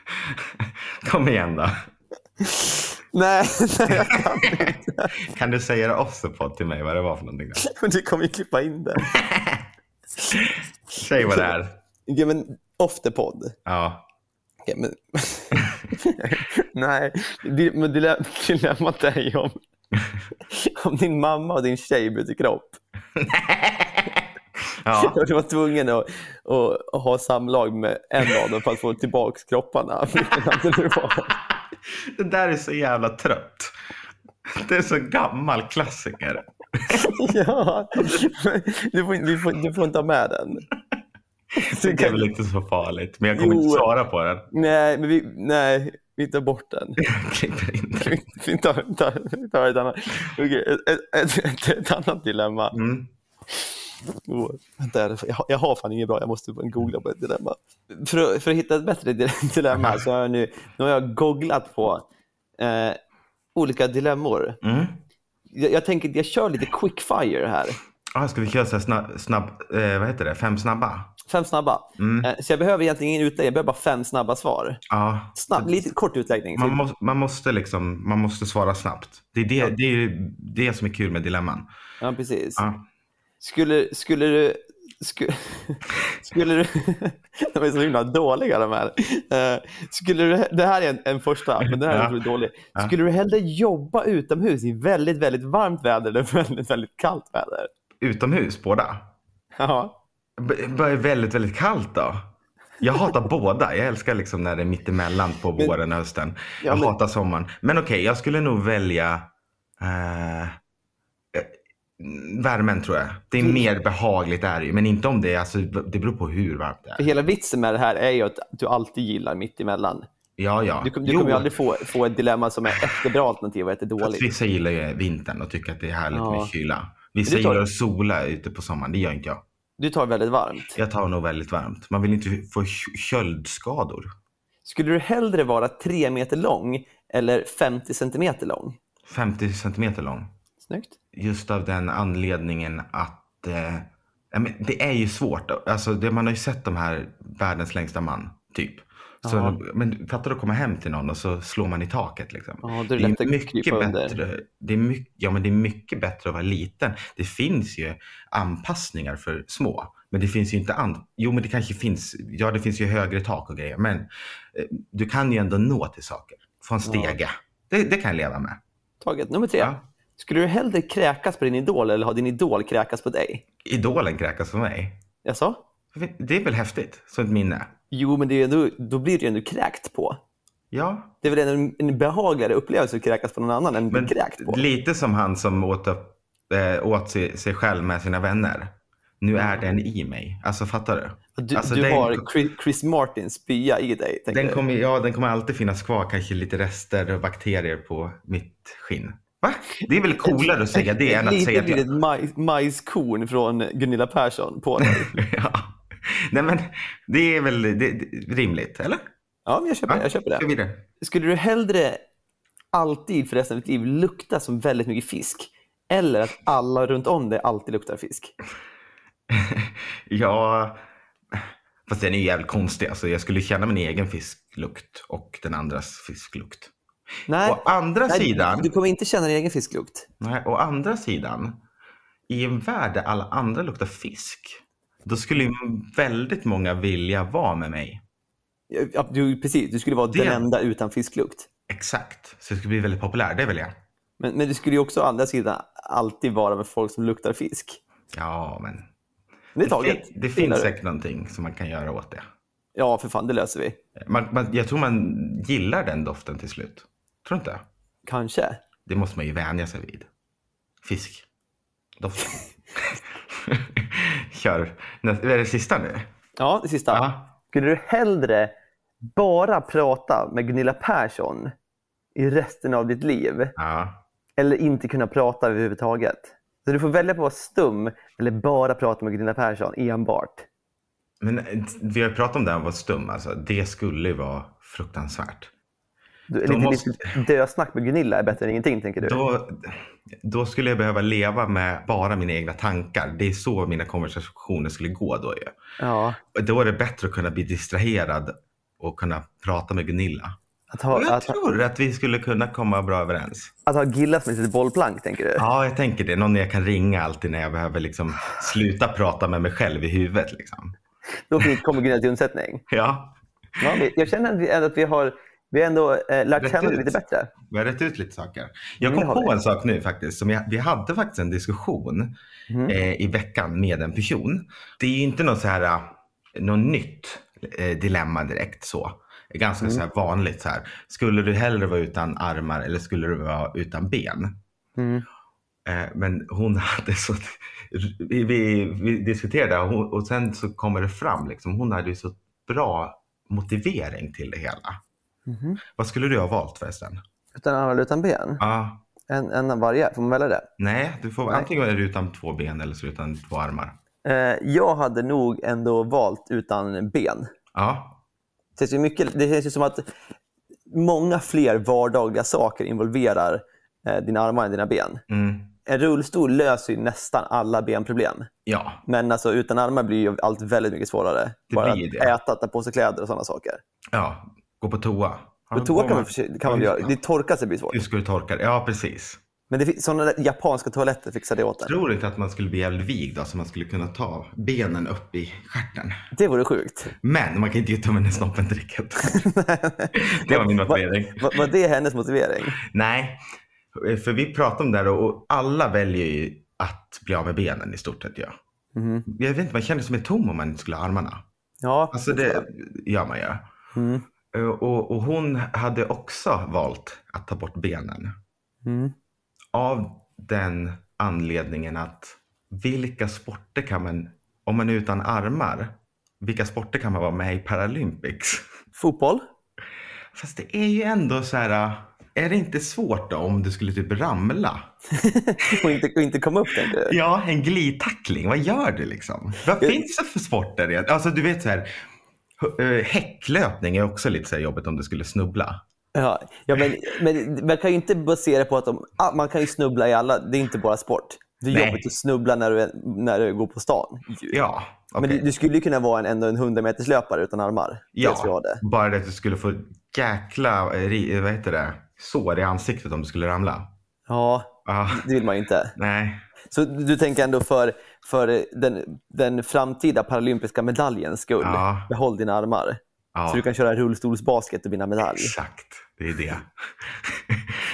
Kom igen då. Nej, nej, jag kan- Kan du säga det också på till mig vad det var för någonting? Då? men du kommer ju klippa in det. Säg vad det är. Okej, men off the podd. Ja. Okej, men... nej, di- men dile- dilemmat är ju om, om din mamma och din tjej byter kropp. ja. Och du var tvungen att, att, att ha samlag med en av dem för att få tillbaka kropparna. Vilken hade du valt? Det där är så jävla trött. Det är så gammal klassiker. Ja, du får, du, får, du får inte ha med den. Du Det är kan, väl inte så farligt, men jag kommer Jo. inte svara på den. nej, men vi, nej, vi tar bort den. Jag klipper in det. Vi- Vi tar, tar, vi tar ett, annat, okej, ett, ett, ett, ett annat dilemma. Mm. Oh, vänta, jag, har- jag har fan inget bra, jag måste googla på ett dilemma. För, att- för att hitta ett bättre dile- dilemma så har jag nu, nu har jag googlat på eh, olika dilemmor. Mm. Jag, jag tänker jag kör lite quickfire här. Ah, ska vi köra så här snabb, snabb eh, vad heter det, fem snabba? Fem snabba. Mm. Eh, Så jag behöver egentligen ingen utläggning, jag behöver bara fem snabba svar. Ja. Snabb, lite kort utläggning. Man, måste, man, måste liksom, man måste svara snabbt. Det är det, det, är ju det som är kul med dilemman. Ja, precis. Ja. Skulle, skulle du... Skulle, skulle du... de är så himla dåliga de här. Eh, skulle du, det här är en, en första, men den här är Ja. otroligt dålig. Skulle du hellre jobba utomhus i väldigt, väldigt varmt väder eller väldigt, väldigt kallt väder? Utomhus båda. Ja. B- Bara är väldigt, väldigt kallt då. Jag hatar båda. Jag älskar liksom när det är mittemellan på våren och hösten. Ja, jag men- hatar sommaren. Men okej, jag skulle nog välja eh, eh, värmen tror jag. Det är mer behagligt är det ju. Men inte om det är, alltså, det beror på hur varmt det För är. hela vitsen med det här är ju att du alltid gillar mitt emellan. Ja, ja. Du, kom- du Jo, kommer ju aldrig få, få ett dilemma som är ett bra alternativ och ett fast dåligt. Vissa gillar ju vintern och tycker att det är härligt Ja. med kyla. Vissa Men det tar- gillar att sola ute på sommaren. Det gör inte jag. Du tar väldigt varmt. Jag tar nog väldigt varmt. Man vill inte få k- köldskador. Skulle du hellre vara tre meter lång eller 50 centimeter lång? 50 centimeter lång. Snyggt. Just av den anledningen att eh, ja, men det är ju svårt. Alltså, det, man har ju sett de här världens längsta man, typ. Så, men fattar du att komma hem till någon och så slår man i taket. Liksom. Ja, då är det lätt att krypa under. bättre. Det är, mycket, ja, men det är mycket bättre att vara liten. Det finns ju anpassningar för små. Men det finns ju inte an... Jo, men det kanske finns. Ja, det finns ju högre tak och grejer. Men eh, du kan ju ändå nå till saker. Få en stege. Det, det kan jag leva med. Taget. Nummer tre. Ja. Skulle du hellre kräkas på din idol eller ha din idol kräkas på dig? Idolen kräkas för mig. Jaså? Det är väl häftigt, som ett minne? Jo, men det är ju ändå, då blir du ju ändå kräkt på. Ja. Det är väl en, en behagligare upplevelse att kräkas på någon annan än att bli Men kräkt på. lite som han som åt, upp, eh, åt sig, sig själv med sina vänner. Nu är den i mig. Alltså fattar du? Mm. Du, alltså, du den, har Chris, Chris Martins spya i dig. tänker den, jag. kommer, ja, den kommer alltid finnas kvar, kanske lite rester och bakterier på mitt skinn. Va? Det är väl coolare att säga det än att Lite säga att jag... litet maj, majskorn från Gunilla Persson på dig. ja. Nej men det är väl det, det, rimligt, eller? Ja, men jag köper, det, jag köper det. Kör vidare. Skulle du hellre alltid för resten av ditt liv lukta som väldigt mycket fisk eller att alla runt om dig alltid luktar fisk? Ja, fast den är ju jävligt konstig. Alltså, jag skulle känna min egen fisklukt och den andras fisklukt. Nej. Å andra Nej, sidan, Alltså, Du kommer inte känna din egen fisklukt. nej, å andra sidan, i en värld där alla andra luktar fisk, då skulle ju väldigt många vilja vara med mig. Ja, du, precis, du skulle vara Det- den enda utan fisklukt. Exakt, så jag skulle bli väldigt populär, det vill jag. Men, men du skulle ju också å andra sidan alltid vara med folk som luktar fisk. Ja, men Det är det, taget. fin- det gillar finns du. säkert någonting som man kan göra åt det. Ja, för fan, det löser vi. Man, man, jag tror man gillar den doften till slut. Tror du inte? Kanske. Det måste man ju vänja sig vid. Fisk. Doft. Kör. Nä, är det sista nu? Ja, det sista. Ja. Skulle du hellre bara prata med Gunilla Persson i resten av ditt liv Ja. eller inte kunna prata överhuvudtaget? Så du får välja på att vara stum eller bara prata med Gunilla Persson enbart. Men eh, vi har ju pratat om det här att vara stum. Alltså. Det skulle ju vara fruktansvärt. Du, Då lite, måste- lite dösnack med Gunilla är bättre än ingenting, tänker du? Då, då skulle jag behöva leva med bara mina egna tankar. Det är så mina konversationer skulle gå då ju. Ja, Och Då är det bättre att kunna bli distraherad och kunna prata med Gunilla. att Och ha, jag att, tror att vi skulle kunna komma bra överens. att ha Gilla som ett litet bollplank, tänker du? Ja, jag tänker det. Någon jag kan ringa alltid när jag behöver liksom sluta prata med mig själv i huvudet. Liksom. Då fin- kommer Gunilla till undsättning. Ja, Ja, vi- jag känner att vi ändå, att vi har, vi har ändå eh, lärt Rätt känna dig ut. lite bättre. vi har rätt ut lite saker. Jag Mm, kom det har på vi. en sak nu faktiskt. Som jag, vi hade faktiskt en diskussion eh, i veckan med en person. Det är ju inte något, så här, eh, något nytt eh, dilemma direkt. så. Ganska så här vanligt. Så här. Skulle du hellre vara utan armar eller skulle du vara utan ben? Mm. Eh, Men hon hade så... Vi, vi, vi diskuterade och, hon, och sen så kommer det fram liksom. Hon hade ju så bra motivering till det hela. Vad skulle du ha valt förresten? Mhm. Utan armar eller utan ben? Ja, En, en av varje, får man välja det? nej, du får antingen är du utan två ben eller så är du utan två armar. Eh, jag hade nog ändå valt utan ben. Ja, Det känns, ju mycket, det känns ju som att många fler vardagliga saker involverar eh, dina armar än dina ben. mm. en rullstol löser ju nästan alla benproblem. Ja, Men alltså, utan armar blir ju allt väldigt mycket svårare. Det Bara blir att det. äta, ta på sig kläder och sådana saker. ja. Gå på toa. Ja, Men toa gå kan man, med- kan man Ja, göra. Det torkar sig blir svårt. Hur ska du torka det? Ja, precis. Men det finns sådana där japanska toaletter fixar det åt en. Tror du inte att man skulle bli jävligt vig då, så man skulle kunna ta benen upp i stjärten? Det vore sjukt. Men man kan inte ge tummen i snoppen direkt. det var min motivering. Var, var det hennes motivering? Nej, för vi pratade om det här och alla väljer ju att bli av med benen i stort sett. Ja. Mhm. Jag vet inte, man känner sig mer tom om man inte skulle ha armarna. Ja, Alltså det gör man ju. Eh, Mm. Och, och hon hade också valt att ta bort benen. Mm. Av den anledningen att vilka sporter kan man, om man är utan armar, vilka sporter kan man vara med i Paralympics? Fotboll? Fast det är ju ändå så här, äh, är det inte svårt då om du skulle typ ramla? Och inte, och inte komma upp tänker du? Ja, en glidtackling. Vad gör du liksom? Vad finns det för sporter? egentligen? Alltså du vet så här, h- eh, häcklöpning är också lite så här jobbigt om du skulle snubbla. Ja, ja men, men man kan ju inte basera på att de, ah, man kan ju snubbla i alla, det är inte bara sport. Det är Nej. jobbigt att snubbla när du, är- när du går på stan. ju. Ja, Men okej. du, du skulle ju kunna vara en, ändå en 100 meters löpare utan armar. Det tror jag ja, det. bara det att du skulle få jäkla, eh, ri- vad heter det, sår i ansiktet om du skulle ramla. Ja, Ah, det vill man ju inte. nej. Så du tänker ändå för, för den, den framtida paralympiska medaljens skull, Ja. behåll dina armar. Ja, Så du kan köra rullstolsbasket och vinna medalj. exakt. Det är det.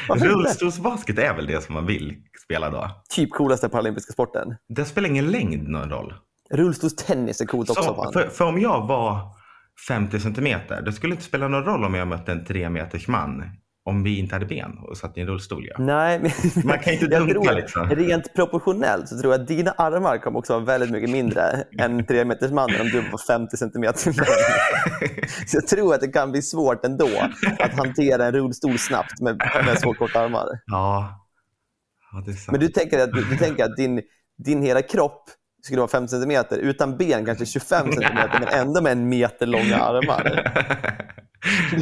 Varför inte? Rullstolsbasket är väl det som man vill spela då? Typ coolaste paralympiska sporten. Det spelar ingen längd någon roll. Rullstolstennis är coolt också. Så, fan. för, för om jag var 50 centimeter, det skulle inte spela någon roll om jag mötte en 3 meters man. Om vi inte hade ben och satt i en rullstol. Ja. Nej, men Man kan ju inte jag dunka, tror, liksom. Rent proportionellt så tror jag att dina armar kommer också vara väldigt mycket mindre än 3 meters mannen om du var 50 centimeter lång. Så jag tror att det kan bli svårt ändå att hantera en rullstol snabbt med, med så korta armar. Ja. ja det är sant. Men du tänker att, du tänker att din, din hela kropp skulle vara 5 centimeter, utan ben kanske 25 centimeter, men ändå med en meter långa armar.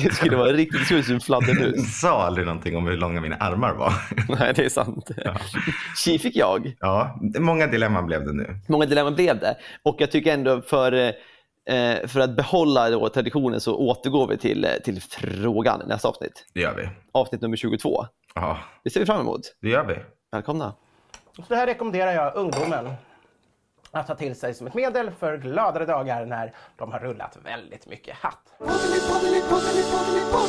Det skulle vara riktigt, det skulle se ut som en Du fladdermus. sa aldrig någonting om hur långa mina armar var. Nej, det är sant. Tji fick jag. Ja, många dilemman blev det nu. många dilemman blev det. Och jag tycker ändå för, eh, för att behålla då traditionen så återgår vi till, eh, till frågan nästa avsnitt. Det gör vi. Avsnitt nummer 22. Ja, Det ser vi fram emot. det gör vi. Välkomna. Så det här rekommenderar jag ungdomen att ta till sig som ett medel för gladare dagar när de har rullat väldigt mycket hatt. Poddeli, poddeli, poddeli, poddeli, poddeli.